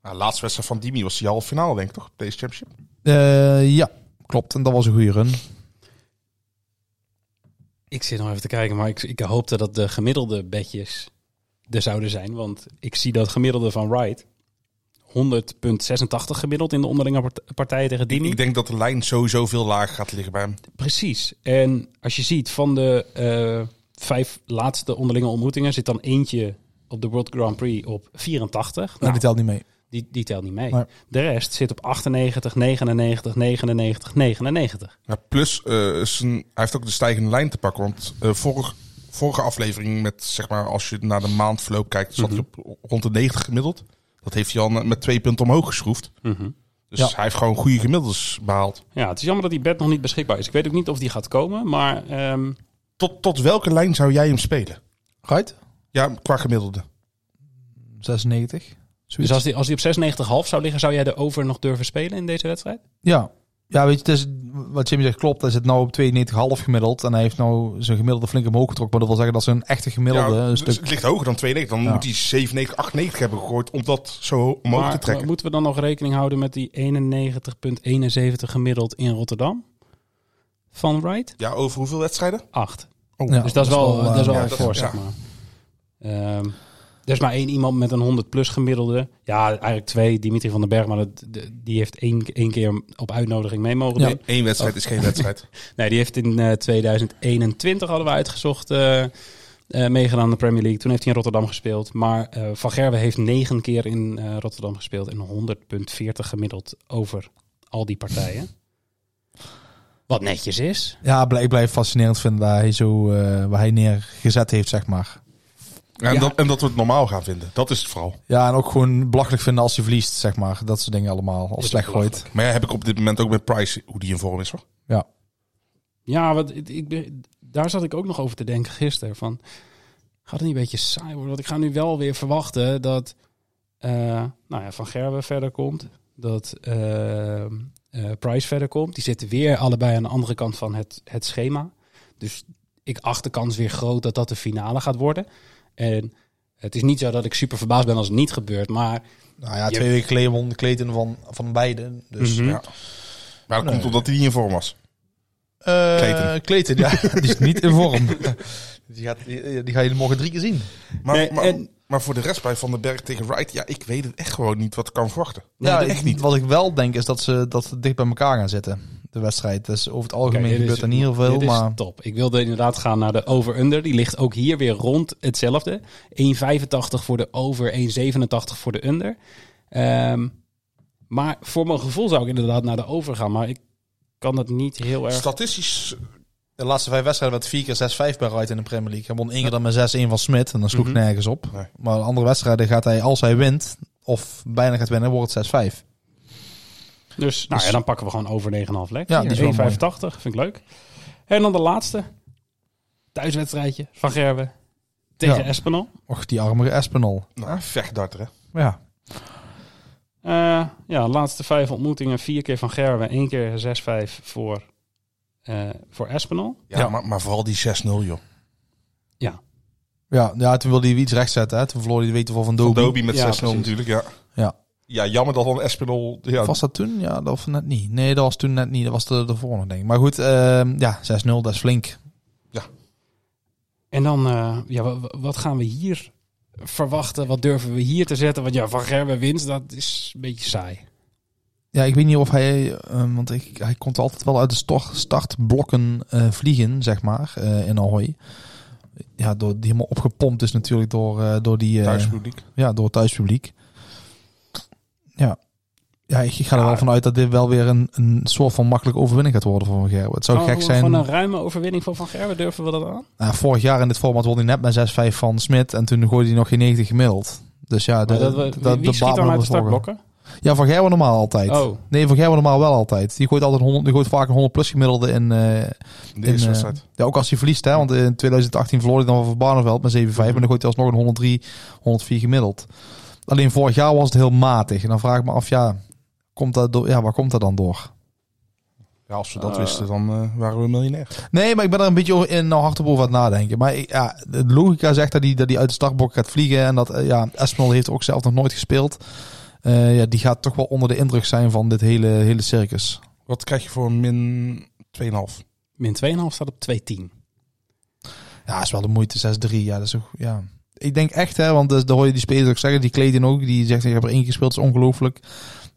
[SPEAKER 6] Nou, laatste wedstrijd van Dimi was die halve finale, denk ik toch? op Deze championship.
[SPEAKER 7] Eh, ja, klopt. En dat was een goede run.
[SPEAKER 1] Ik zit nog even te kijken, maar ik, ik hoopte dat de gemiddelde bedjes er zouden zijn. Want ik zie dat gemiddelde van Wright 100,86 gemiddeld in de onderlinge part- partijen tegen Dimi.
[SPEAKER 6] Ik denk dat de lijn sowieso veel lager gaat liggen bij hem.
[SPEAKER 1] Precies. En als je ziet van de eh, vijf laatste onderlinge ontmoetingen zit dan eentje op de World Grand Prix op 84.
[SPEAKER 7] Nou,
[SPEAKER 1] Nou,
[SPEAKER 7] die telt niet mee.
[SPEAKER 1] die, die telt niet mee.
[SPEAKER 7] Maar-
[SPEAKER 1] De rest zit op 98, 99, 99, 99.
[SPEAKER 6] Ja, plus, eh, zijn, hij heeft ook de stijgende lijn te pakken. Want eh vorig, vorige aflevering, met, zeg maar, als je naar de maandverloop kijkt, zat hij op rond de 90 gemiddeld. Dat heeft hij al met twee punten omhoog geschroefd. Dus
[SPEAKER 7] Ja.
[SPEAKER 6] hij heeft gewoon goede gemiddeldes behaald.
[SPEAKER 1] Ja, het is jammer dat die bed nog niet beschikbaar is. Ik weet ook niet of die gaat komen, maar ehm,
[SPEAKER 6] Tot, tot welke lijn zou jij hem spelen?
[SPEAKER 7] Right?
[SPEAKER 6] Ja, qua gemiddelde.
[SPEAKER 7] 96.
[SPEAKER 1] dus als die, als die op 96,5 zou liggen, zou jij de over nog durven spelen in deze wedstrijd?
[SPEAKER 7] Ja. Ja, weet je, het is, wat Jimmy zegt klopt. Hij zit nou op 92,5 gemiddeld. En hij heeft nou zijn gemiddelde flink omhoog getrokken. Maar dat wil zeggen dat zijn echte gemiddelde
[SPEAKER 6] Ja,
[SPEAKER 7] een
[SPEAKER 6] dus
[SPEAKER 7] stuk...
[SPEAKER 6] Het ligt hoger dan 92. Dan
[SPEAKER 7] Ja.
[SPEAKER 6] moet hij 97, 98 hebben gegooid om dat zo omhoog
[SPEAKER 1] maar
[SPEAKER 6] te trekken.
[SPEAKER 1] moeten we dan nog rekening houden met die 91,71 gemiddeld in Rotterdam? Van Wright?
[SPEAKER 6] Ja, over hoeveel wedstrijden?
[SPEAKER 1] 8.
[SPEAKER 6] Oh,
[SPEAKER 7] Ja,
[SPEAKER 1] dus dat is wel, dat is
[SPEAKER 7] eh,
[SPEAKER 1] wel
[SPEAKER 6] ja,
[SPEAKER 1] een
[SPEAKER 6] dat-
[SPEAKER 1] voor,
[SPEAKER 6] ja.
[SPEAKER 1] zeg maar. Ehm, er is maar één iemand met een 100 plus gemiddelde. Ja, eigenlijk twee. Dimitri van den Berg, maar dat, de- die heeft één, één keer op uitnodiging mee mogen
[SPEAKER 7] Ja.
[SPEAKER 1] doen.
[SPEAKER 6] Eén wedstrijd is geen wedstrijd.
[SPEAKER 1] Nee, die heeft in eh, 2021, hadden we uitgezocht, eh, eh, meegedaan aan de Premier League. Toen heeft hij in Rotterdam gespeeld. Maar eh, Van Gerwen heeft negen keer in eh, Rotterdam gespeeld. En 100,40 gemiddeld over al die partijen. Wat netjes is.
[SPEAKER 7] Ja, bl- ik blijf fascinerend vinden waar hij, zo, eh, waar hij neergezet heeft, zeg maar.
[SPEAKER 6] En,
[SPEAKER 1] Ja.
[SPEAKER 6] dat, en dat we het normaal gaan vinden. Dat is het vooral.
[SPEAKER 7] Ja, en ook gewoon belachelijk vinden als hij verliest, zeg maar. Dat soort dingen allemaal. Als slecht gooit.
[SPEAKER 6] Maar ja, heb ik op dit moment ook met Price hoe die in vorm is hoor.
[SPEAKER 7] Ja.
[SPEAKER 1] Ja, want ik, ik, ben- daar zat ik ook nog over te denken gisteren. Van, gaat het niet een beetje saai worden? Want ik ga nu wel weer verwachten dat eh, nou ja, Van Gerwen verder komt. Dat eh, eh, Price verder komt. Die zitten weer allebei aan de andere kant van het, het schema. Dus ik acht de kans weer groot dat dat de finale gaat worden. En het is niet zo dat ik super verbaasd ben als het niet gebeurt. Maar
[SPEAKER 7] Nou ja,
[SPEAKER 1] Je-
[SPEAKER 7] twee weken geleden won Clayton van, van beide. Dus
[SPEAKER 1] Mhm.
[SPEAKER 7] ja.
[SPEAKER 6] Maar dat komt omdat hij niet in vorm was.
[SPEAKER 7] Eh,
[SPEAKER 6] Clayton.
[SPEAKER 7] Clayton, ja. die is niet in vorm. die, gaat, die, die ga je morgen drie keer zien.
[SPEAKER 6] Maar,
[SPEAKER 1] Nee,
[SPEAKER 6] maar,
[SPEAKER 1] en-
[SPEAKER 6] maar voor de rest bij Van den Berg tegen Wright, ja, ik weet het echt gewoon niet wat ik kan verwachten.
[SPEAKER 7] ja,
[SPEAKER 6] echt
[SPEAKER 7] ik-
[SPEAKER 6] niet.
[SPEAKER 7] Wat ik wel denk is dat ze dat ze dicht bij elkaar gaan zitten. De wedstrijd. Dus over het algemeen
[SPEAKER 1] Oké, dit
[SPEAKER 7] gebeurt
[SPEAKER 1] is-
[SPEAKER 7] er niet heel veel.
[SPEAKER 1] Dit is
[SPEAKER 7] Maar
[SPEAKER 1] top. Ik wilde inderdaad gaan naar de over-under. Die ligt ook hier weer rond hetzelfde. 1,85 voor de over, 1,87 voor de under. Ehm, maar voor mijn gevoel zou ik inderdaad naar de over gaan. Maar ik kan dat niet heel erg...
[SPEAKER 6] Statistisch,
[SPEAKER 7] de laatste vijf wedstrijden werd vier keer 6-5 bij Wright in de Premier League. Hij won één keer dan met 6-1 van Smit. En dan sloeg nergens op.
[SPEAKER 6] Mhm. Nee.
[SPEAKER 7] Maar de andere wedstrijden gaat hij, als hij wint, of bijna gaat winnen, wordt het 6-5.
[SPEAKER 1] Dus nou
[SPEAKER 7] Dus-
[SPEAKER 1] ja, dan pakken we gewoon over 9,5 lek.
[SPEAKER 7] Ja, die is wel
[SPEAKER 1] 1,85. Vind ik leuk. En dan de laatste. Thuiswedstrijdje van Gerwe tegen
[SPEAKER 7] Ja.
[SPEAKER 1] Espenal.
[SPEAKER 7] Och, die arme Espenol.
[SPEAKER 6] Nou, vechtdarter, hè?
[SPEAKER 7] Ja.
[SPEAKER 1] Eh, ja, laatste vijf ontmoetingen. Vier keer van Gerwe. één keer 6-5 voor, eh, voor Espenal.
[SPEAKER 6] Ja,
[SPEAKER 7] Ja.
[SPEAKER 6] Maar, maar vooral die 6-0, joh.
[SPEAKER 7] Ja, ja, toen wilde hij iets rechtzetten. Hè. Toen verloor hij de weten van Van
[SPEAKER 6] Van
[SPEAKER 7] Doby.
[SPEAKER 6] Dobie met
[SPEAKER 1] Ja,
[SPEAKER 6] 6-0
[SPEAKER 1] precies.
[SPEAKER 6] natuurlijk, ja.
[SPEAKER 7] Ja.
[SPEAKER 6] Ja, jammer dat dan Espinol... Ja,
[SPEAKER 7] Was dat toen? Ja, dat was net niet. Nee, dat was toen net niet. Dat was de, de volgende, denk ik. Maar goed, ehm, ja, 6-0, dat is flink.
[SPEAKER 1] En dan, eh, ja, wa- wa- wat gaan we hier verwachten? Wat durven we hier te zetten? Want ja, van Gerwe wint, dat is een beetje saai.
[SPEAKER 7] Ja, ik weet niet of hij... ehm, want ik, hij komt altijd wel uit de stor- startblokken eh, vliegen, zeg maar, eh, in Ahoy. Ja, door, die helemaal opgepompt is natuurlijk door, eh, door die... eh,
[SPEAKER 6] thuispubliek.
[SPEAKER 7] ja, door het thuispubliek. Ja. Ja, ik ik ga er wel vanuit dat dit wel weer een, een soort van makkelijke overwinning gaat worden voor Van Gerwen. Het zou
[SPEAKER 1] Gewoon-
[SPEAKER 7] gek zijn...
[SPEAKER 1] Gewoon een ruime overwinning voor Van Gerwen, durven we dat aan?
[SPEAKER 7] Nou, vorig jaar in dit format won hij net met 6-5 van Smit. En toen gooide hij nog geen 90 gemiddeld. Dus ja,
[SPEAKER 1] Maar
[SPEAKER 7] de,
[SPEAKER 1] dat, we-
[SPEAKER 7] de-
[SPEAKER 1] wie-
[SPEAKER 7] de
[SPEAKER 1] wie schiet
[SPEAKER 7] baat
[SPEAKER 1] dan
[SPEAKER 7] moet
[SPEAKER 1] uit de
[SPEAKER 7] worden volgen.
[SPEAKER 1] startblokken?
[SPEAKER 7] Ja, van Gerwen normaal altijd.
[SPEAKER 1] Oh,
[SPEAKER 7] Nee, van Gerwen normaal wel altijd. Die gooit, altijd 100, die gooit vaak een 100 plus gemiddelde in... eh,
[SPEAKER 6] De eerste
[SPEAKER 7] eh,
[SPEAKER 6] wedstrijd.
[SPEAKER 7] ja, ook als hij verliest, hè. Want in 2018 verloor hij dan van Barneveld met 7-5. Maar dan gooit hij alsnog een 103, 104 gemiddeld. Alleen vorig jaar was het heel matig. En dan vraag ik me af, ja, komt dat door, ja waar komt dat dan door?
[SPEAKER 6] Ja, als we dat wisten, dan eh, waren we miljonair.
[SPEAKER 7] Nee, maar ik ben er een beetje over- in nou, hard op over aan het nadenken. Maar ik- ja, de logica zegt dat hij, dat hij uit de startblok gaat vliegen. En dat eh, ja, Espinol heeft ook zelf nog nooit gespeeld. Eh, ja, die gaat toch wel onder de indruk zijn van dit hele, hele circus.
[SPEAKER 6] Wat krijg je voor een min 2,5?
[SPEAKER 1] min 2,5 staat op 2,10.
[SPEAKER 7] Ja, is wel de moeite. 6-3. Ja, dat is ook, ja. Ik denk echt, hè, want dat- daar hoor je die spelers ook zeggen. Die Clayton ook, die zegt, ik heb er één gespeeld, dat is ongelooflijk.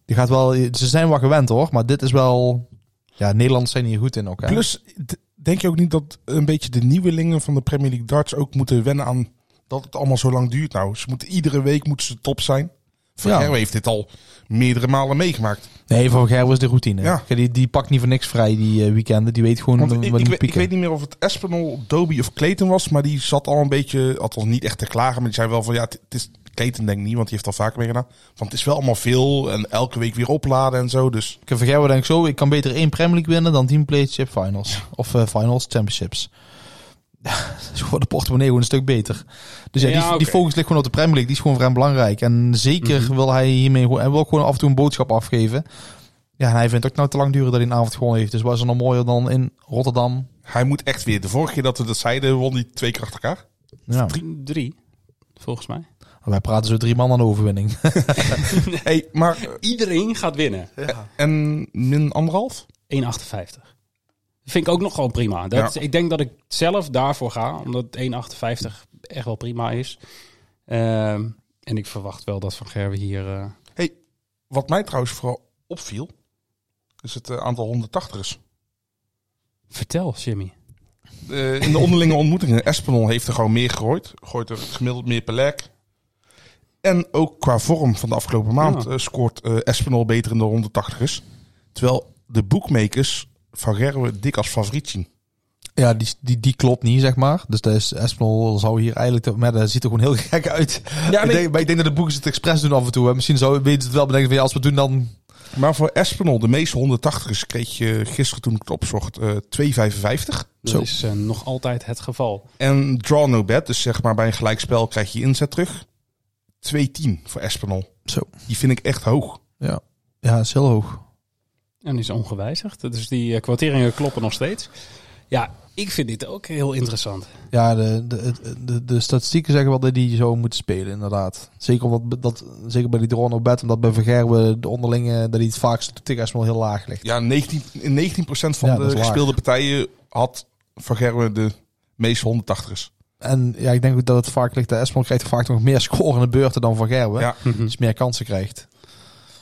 [SPEAKER 7] Die gaat wel, ze zijn wel gewend hoor, maar dit is wel... Ja, Nederlanders zijn hier goed in ook. Hè?
[SPEAKER 6] Plus, d- denk je ook niet dat een beetje de nieuwelingen van de Premier League darts ook moeten wennen aan dat het allemaal zo lang duurt nou? Ze moeten, iedere week moeten ze top zijn. Van
[SPEAKER 7] Ja.
[SPEAKER 6] Gerwen heeft dit al meerdere malen meegemaakt.
[SPEAKER 7] Nee, voor Gerber is de routine.
[SPEAKER 6] Ja.
[SPEAKER 7] Kijk, Die, die pakt niet voor niks vrij die eh, weekenden. Die weet gewoon
[SPEAKER 6] Want
[SPEAKER 7] wat
[SPEAKER 6] ik,
[SPEAKER 7] moet
[SPEAKER 6] ik, weet, ik
[SPEAKER 7] pieken.
[SPEAKER 6] weet niet meer of het Espinol, Dobie of Clayton was, maar die zat al een beetje, althans niet echt te klagen, maar die zei wel van ja, het het is Clayton denk ik niet, want die heeft al vaker meegedaan. Want het is wel allemaal veel en elke week weer opladen en zo, dus
[SPEAKER 7] Ik vergeet denk ik zo. Ik kan beter één Premier League winnen dan tien Championship Finals. Of eh, Finals Championships. Zo wordt de portemonnee gewoon een stuk beter. Dus ja,
[SPEAKER 1] Ja,
[SPEAKER 7] die,
[SPEAKER 1] oké. Mhm.
[SPEAKER 7] die focus ligt gewoon op de Premier League. Die is gewoon vrij belangrijk. En zeker wil hij hiermee gewoon, en wil gewoon af en toe een boodschap afgeven. Ja, en hij vindt ook nou te lang duren dat hij een avond gewonnen heeft. Dus was er nog mooier dan in Rotterdam.
[SPEAKER 6] hij moet echt weer. De vorige keer dat we dat zeiden, won hij twee keer achter elkaar.
[SPEAKER 7] Ja.
[SPEAKER 1] 3, volgens mij.
[SPEAKER 7] Wij praten zo drie man aan de overwinning.
[SPEAKER 6] Hey, maar eh,
[SPEAKER 1] Iedereen gaat winnen.
[SPEAKER 6] en min anderhalf?
[SPEAKER 1] 1,58. Vind ik ook nog gewoon prima. Dat,
[SPEAKER 6] Ja.
[SPEAKER 1] Ik denk dat ik zelf daarvoor ga, omdat 1,58 echt wel prima is. Ehm, en ik verwacht wel dat Van Gerwen hier... eh,
[SPEAKER 6] Hey, wat mij trouwens vooral opviel, is het eh, aantal 180ers.
[SPEAKER 1] Vertel, Jimmy.
[SPEAKER 6] Eh, in de onderlinge ontmoetingen, Espinol heeft er gewoon meer gegooid. Gooit er gemiddeld meer per lek. En ook qua vorm van de afgelopen maand
[SPEAKER 1] Ja.
[SPEAKER 6] eh, scoort eh Espinol beter in de 180ers. Terwijl de bookmakers van Gerwe dik als favoriet zien.
[SPEAKER 7] ja, die, die, die klopt niet, zeg maar. Dus dat is Espinol zou hier eigenlijk... Maar dat ziet er gewoon heel gek uit.
[SPEAKER 6] Ja,
[SPEAKER 7] ik denk, maar ik denk dat de boekers het expres doen af en toe. Hè. Misschien zou weten ze het wel bedenken van ja, als we het doen dan...
[SPEAKER 6] Maar voor Espinol, de meeste 180ers, kreeg je gisteren toen ik het opzocht eh, 2,55.
[SPEAKER 1] Dat
[SPEAKER 7] Zo.
[SPEAKER 1] is eh, nog altijd het geval.
[SPEAKER 6] En draw no bet, dus zeg maar bij een gelijkspel krijg je inzet terug. 2,10 voor Espinol.
[SPEAKER 7] Zo.
[SPEAKER 6] Die vind ik echt hoog.
[SPEAKER 7] Ja, ja dat is heel hoog.
[SPEAKER 1] En is ongewijzigd. Dus die eh, kwarteringen kloppen nog steeds. Ja, ik vind dit ook heel interessant.
[SPEAKER 7] Ja, de, de, de, de statistieken zeggen wel dat die zo moeten spelen, inderdaad. Zeker, omdat, dat, zeker bij die drone op bed, omdat bij Vergerwe de onderlinge, dat hij het vaakst tegen Espinol heel laag ligt.
[SPEAKER 6] Ja, 19, in 19% van
[SPEAKER 7] Ja, dat
[SPEAKER 6] de
[SPEAKER 7] is laag.
[SPEAKER 6] gespeelde partijen had Van Gerwen de meeste 180ers.
[SPEAKER 7] En ja, ik denk ook dat het vaak ligt, dat Espinol krijgt vaak nog meer scorende beurten dan Vergerwe.
[SPEAKER 6] Ja.
[SPEAKER 7] Dus meer kansen krijgt.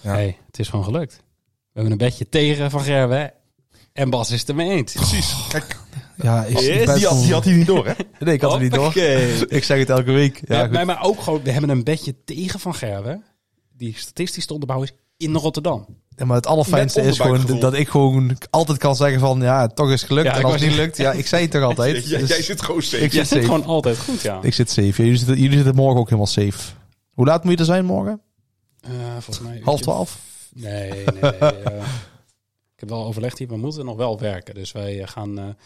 [SPEAKER 6] Ja.
[SPEAKER 1] Hey, het is gewoon gelukt. We hebben een bedje tegen Van Gerwen. En Bas is het ermee eens.
[SPEAKER 6] Precies.
[SPEAKER 7] Oh.
[SPEAKER 6] Kijk,
[SPEAKER 7] Ja, ik,
[SPEAKER 1] Yes,
[SPEAKER 7] best-
[SPEAKER 6] die had, die had hij niet door, hè?
[SPEAKER 7] Nee, ik had het niet door.
[SPEAKER 1] Hoppakee.
[SPEAKER 7] Ik zeg het elke week. Ja,
[SPEAKER 1] Ja,
[SPEAKER 7] goed.
[SPEAKER 1] maar, maar ook gewoon, we hebben een bedje tegen Van Gerwen. Die statistisch te onderbouwen is in Rotterdam.
[SPEAKER 7] Ja, maar het allerfijnste
[SPEAKER 6] Met
[SPEAKER 7] is gewoon
[SPEAKER 6] onderbuikgevoel.
[SPEAKER 7] dat ik gewoon altijd kan zeggen van ja, toch is het gelukt.
[SPEAKER 1] Ja,
[SPEAKER 7] en
[SPEAKER 1] ik
[SPEAKER 7] als
[SPEAKER 1] was
[SPEAKER 7] het niet
[SPEAKER 1] niet-
[SPEAKER 7] lukt, ja, ik zei het toch altijd.
[SPEAKER 6] Jij,
[SPEAKER 7] Dus
[SPEAKER 6] jij zit gewoon
[SPEAKER 7] ik
[SPEAKER 6] steeds.
[SPEAKER 1] Jij
[SPEAKER 7] zit
[SPEAKER 1] zit
[SPEAKER 7] safe.
[SPEAKER 1] gewoon altijd goed, ja.
[SPEAKER 7] Ik zit safe. Jullie zitten, jullie zitten morgen ook helemaal safe. Hoe laat moet je er zijn morgen?
[SPEAKER 1] Eh, volgens mij
[SPEAKER 7] Half twaalf?
[SPEAKER 1] Nee, nee, nee. eh, ik heb wel overlegd hier, we moeten nog wel werken. Dus wij eh, gaan, eh,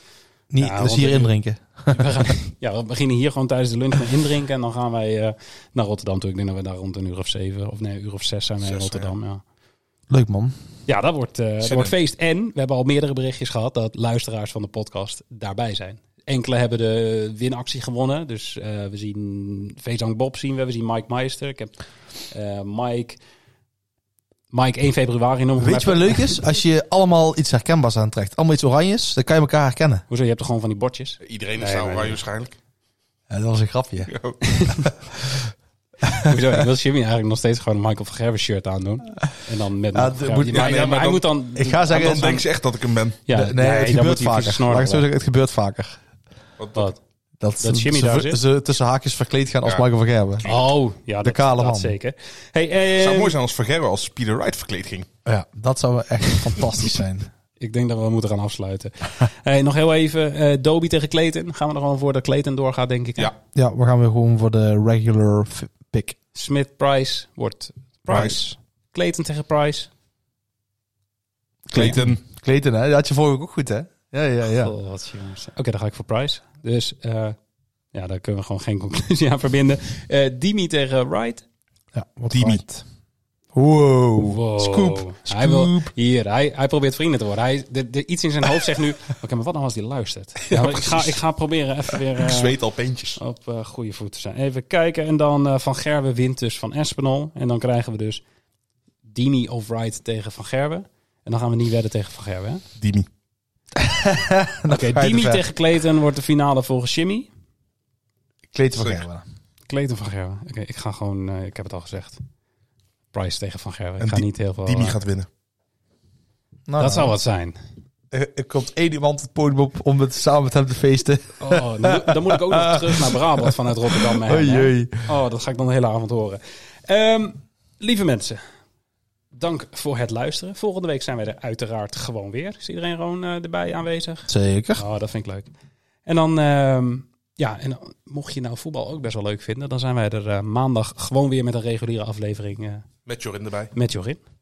[SPEAKER 7] Niet,
[SPEAKER 1] Ja,
[SPEAKER 7] dus
[SPEAKER 1] want
[SPEAKER 7] hier
[SPEAKER 1] ik-
[SPEAKER 7] indrinken.
[SPEAKER 1] we gaan ja, we beginnen hier gewoon tijdens de lunch met indrinken. En dan gaan wij eh, naar Rotterdam toe. Ik denk dat we daar rond een uur of zeven, of nee, een uur of zes zijn wij in
[SPEAKER 7] eh,
[SPEAKER 6] Zes,
[SPEAKER 1] Rotterdam. Ja.
[SPEAKER 7] Leuk man.
[SPEAKER 1] Ja, dat wordt, eh, dat
[SPEAKER 6] in.
[SPEAKER 1] wordt feest. En we hebben al meerdere berichtjes gehad dat luisteraars van de podcast daarbij zijn. Enkele hebben de winactie gewonnen. Dus eh, we zien Vezang Bob zien we, we zien Mike Meister. Ik heb eh, Mike, Mike 1 februari nog.
[SPEAKER 7] Weet je wat leuk is? Als je allemaal iets herkenbaars aantrekt. Allemaal iets oranjes, dan kan je elkaar herkennen.
[SPEAKER 1] Hoezo, je hebt toch gewoon van die bordjes?
[SPEAKER 6] Iedereen is
[SPEAKER 1] Nee,
[SPEAKER 6] daar
[SPEAKER 1] nee,
[SPEAKER 6] oranje
[SPEAKER 1] nee.
[SPEAKER 6] waarschijnlijk.
[SPEAKER 7] Ja, dat was een grapje.
[SPEAKER 1] Hoezo, ik wil Jimmy eigenlijk nog steeds gewoon een Michael van Gerwen shirt aandoen. En dan met...
[SPEAKER 7] Ja,
[SPEAKER 1] Ja,
[SPEAKER 7] dat moet-
[SPEAKER 1] maar,
[SPEAKER 7] ja,
[SPEAKER 6] nee,
[SPEAKER 1] maar
[SPEAKER 6] maar
[SPEAKER 1] hij
[SPEAKER 6] dan-
[SPEAKER 1] moet dan...
[SPEAKER 7] Ik ga zeggen,
[SPEAKER 6] Dan
[SPEAKER 7] het-
[SPEAKER 6] denken ze echt dat ik hem ben.
[SPEAKER 1] Ja,
[SPEAKER 7] nee, het
[SPEAKER 1] dan
[SPEAKER 7] gebeurt
[SPEAKER 1] moet hij
[SPEAKER 7] vaker.
[SPEAKER 1] versnorden
[SPEAKER 7] Laat ik
[SPEAKER 1] worden.
[SPEAKER 7] het zo zeggen, het gebeurt vaker.
[SPEAKER 6] Wat- wat-
[SPEAKER 1] Wat?
[SPEAKER 7] Dat,
[SPEAKER 1] Dat
[SPEAKER 7] ze-
[SPEAKER 1] Jimmy
[SPEAKER 7] ze,
[SPEAKER 1] daar
[SPEAKER 7] ze,
[SPEAKER 1] zit?
[SPEAKER 7] tussen haakjes verkleed gaan als
[SPEAKER 6] Ja.
[SPEAKER 7] Michael van Gerben.
[SPEAKER 1] Oh, ja, dat,
[SPEAKER 7] kale
[SPEAKER 1] dat
[SPEAKER 7] man.
[SPEAKER 1] zeker. Hey,
[SPEAKER 6] Het zou
[SPEAKER 1] eh,
[SPEAKER 6] mooi zijn als Vergerwe als Peter Wright verkleed ging.
[SPEAKER 7] Ja, dat zou wel echt fantastisch zijn.
[SPEAKER 1] Ik denk dat we moeten gaan afsluiten. hey, nog heel even eh Doby tegen Clayton. Gaan we er gewoon voor dat Clayton doorgaat, denk ik. hè?
[SPEAKER 6] Ja.
[SPEAKER 7] Ja, we gaan weer gewoon voor de regular f- pick.
[SPEAKER 1] Smith Price wordt Price. Clayton tegen Price.
[SPEAKER 6] Clayton.
[SPEAKER 7] Kleten, hè? Dat had je vorige week ook goed, hè? Ja, ja, ja.
[SPEAKER 1] Oh, wat jongens. Oké, dan ga ik voor Price. Dus eh, ja, daar kunnen we gewoon geen conclusie aan verbinden. Eh Dimi tegen Wright.
[SPEAKER 7] ja wat
[SPEAKER 6] Dimi.
[SPEAKER 7] right. Wow. Scoop.
[SPEAKER 1] Hij wil,
[SPEAKER 7] Scoop.
[SPEAKER 1] hier, hij, hij probeert vrienden te worden. Hij, de, de, iets in zijn hoofd zegt nu... Oké, maar wat nou als die luistert? Ja, maar ik, ga, ik ga proberen even weer... eh,
[SPEAKER 6] Ik zweet al
[SPEAKER 7] Oh.
[SPEAKER 6] peentjes.
[SPEAKER 1] op eh, goede voet te zijn. Even kijken. En dan eh, Van Gerwen wint dus van Espinol. En dan krijgen we dus Dini of Wright tegen Van Gerwen. En dan gaan we niet wedden tegen Van Gerwen. hè?
[SPEAKER 6] Dimi.
[SPEAKER 1] Oké,
[SPEAKER 7] ga je dus te
[SPEAKER 1] Dini
[SPEAKER 7] ver.
[SPEAKER 1] tegen Clayton wordt de finale volgens Jimmy.
[SPEAKER 7] Kleten van
[SPEAKER 6] Zeker.
[SPEAKER 7] Gerben.
[SPEAKER 1] Clayton Van Gerwen. Oké, ik ga gewoon... eh, ik heb het al gezegd. Price tegen Van Gerwen. Ik
[SPEAKER 6] En
[SPEAKER 1] ga
[SPEAKER 6] Di-
[SPEAKER 1] niet heel veel...
[SPEAKER 6] Dimi
[SPEAKER 1] eh,
[SPEAKER 6] gaat winnen.
[SPEAKER 7] Nou,
[SPEAKER 1] dat zou wat zijn.
[SPEAKER 7] Er er komt één iemand het podium op om het samen met hem te feesten.
[SPEAKER 1] Oh, dan, moet- dan moet ik ook nog terug naar Brabant vanuit Rotterdam. met hem,
[SPEAKER 7] Oei,
[SPEAKER 1] hè?
[SPEAKER 7] oei.
[SPEAKER 1] Oh, dat ga ik dan de hele avond horen. Ehm, lieve mensen, dank voor het luisteren. Volgende week zijn wij er uiteraard gewoon weer. Is iedereen gewoon eh, erbij aanwezig?
[SPEAKER 7] Zeker.
[SPEAKER 1] Oh, dat vind ik leuk. En dan, ehm, ja, en dan- mocht je nou voetbal ook best wel leuk vinden, dan zijn wij er eh, maandag gewoon weer met een reguliere aflevering eh,
[SPEAKER 6] Met Jorin erbij.
[SPEAKER 1] met Jorin.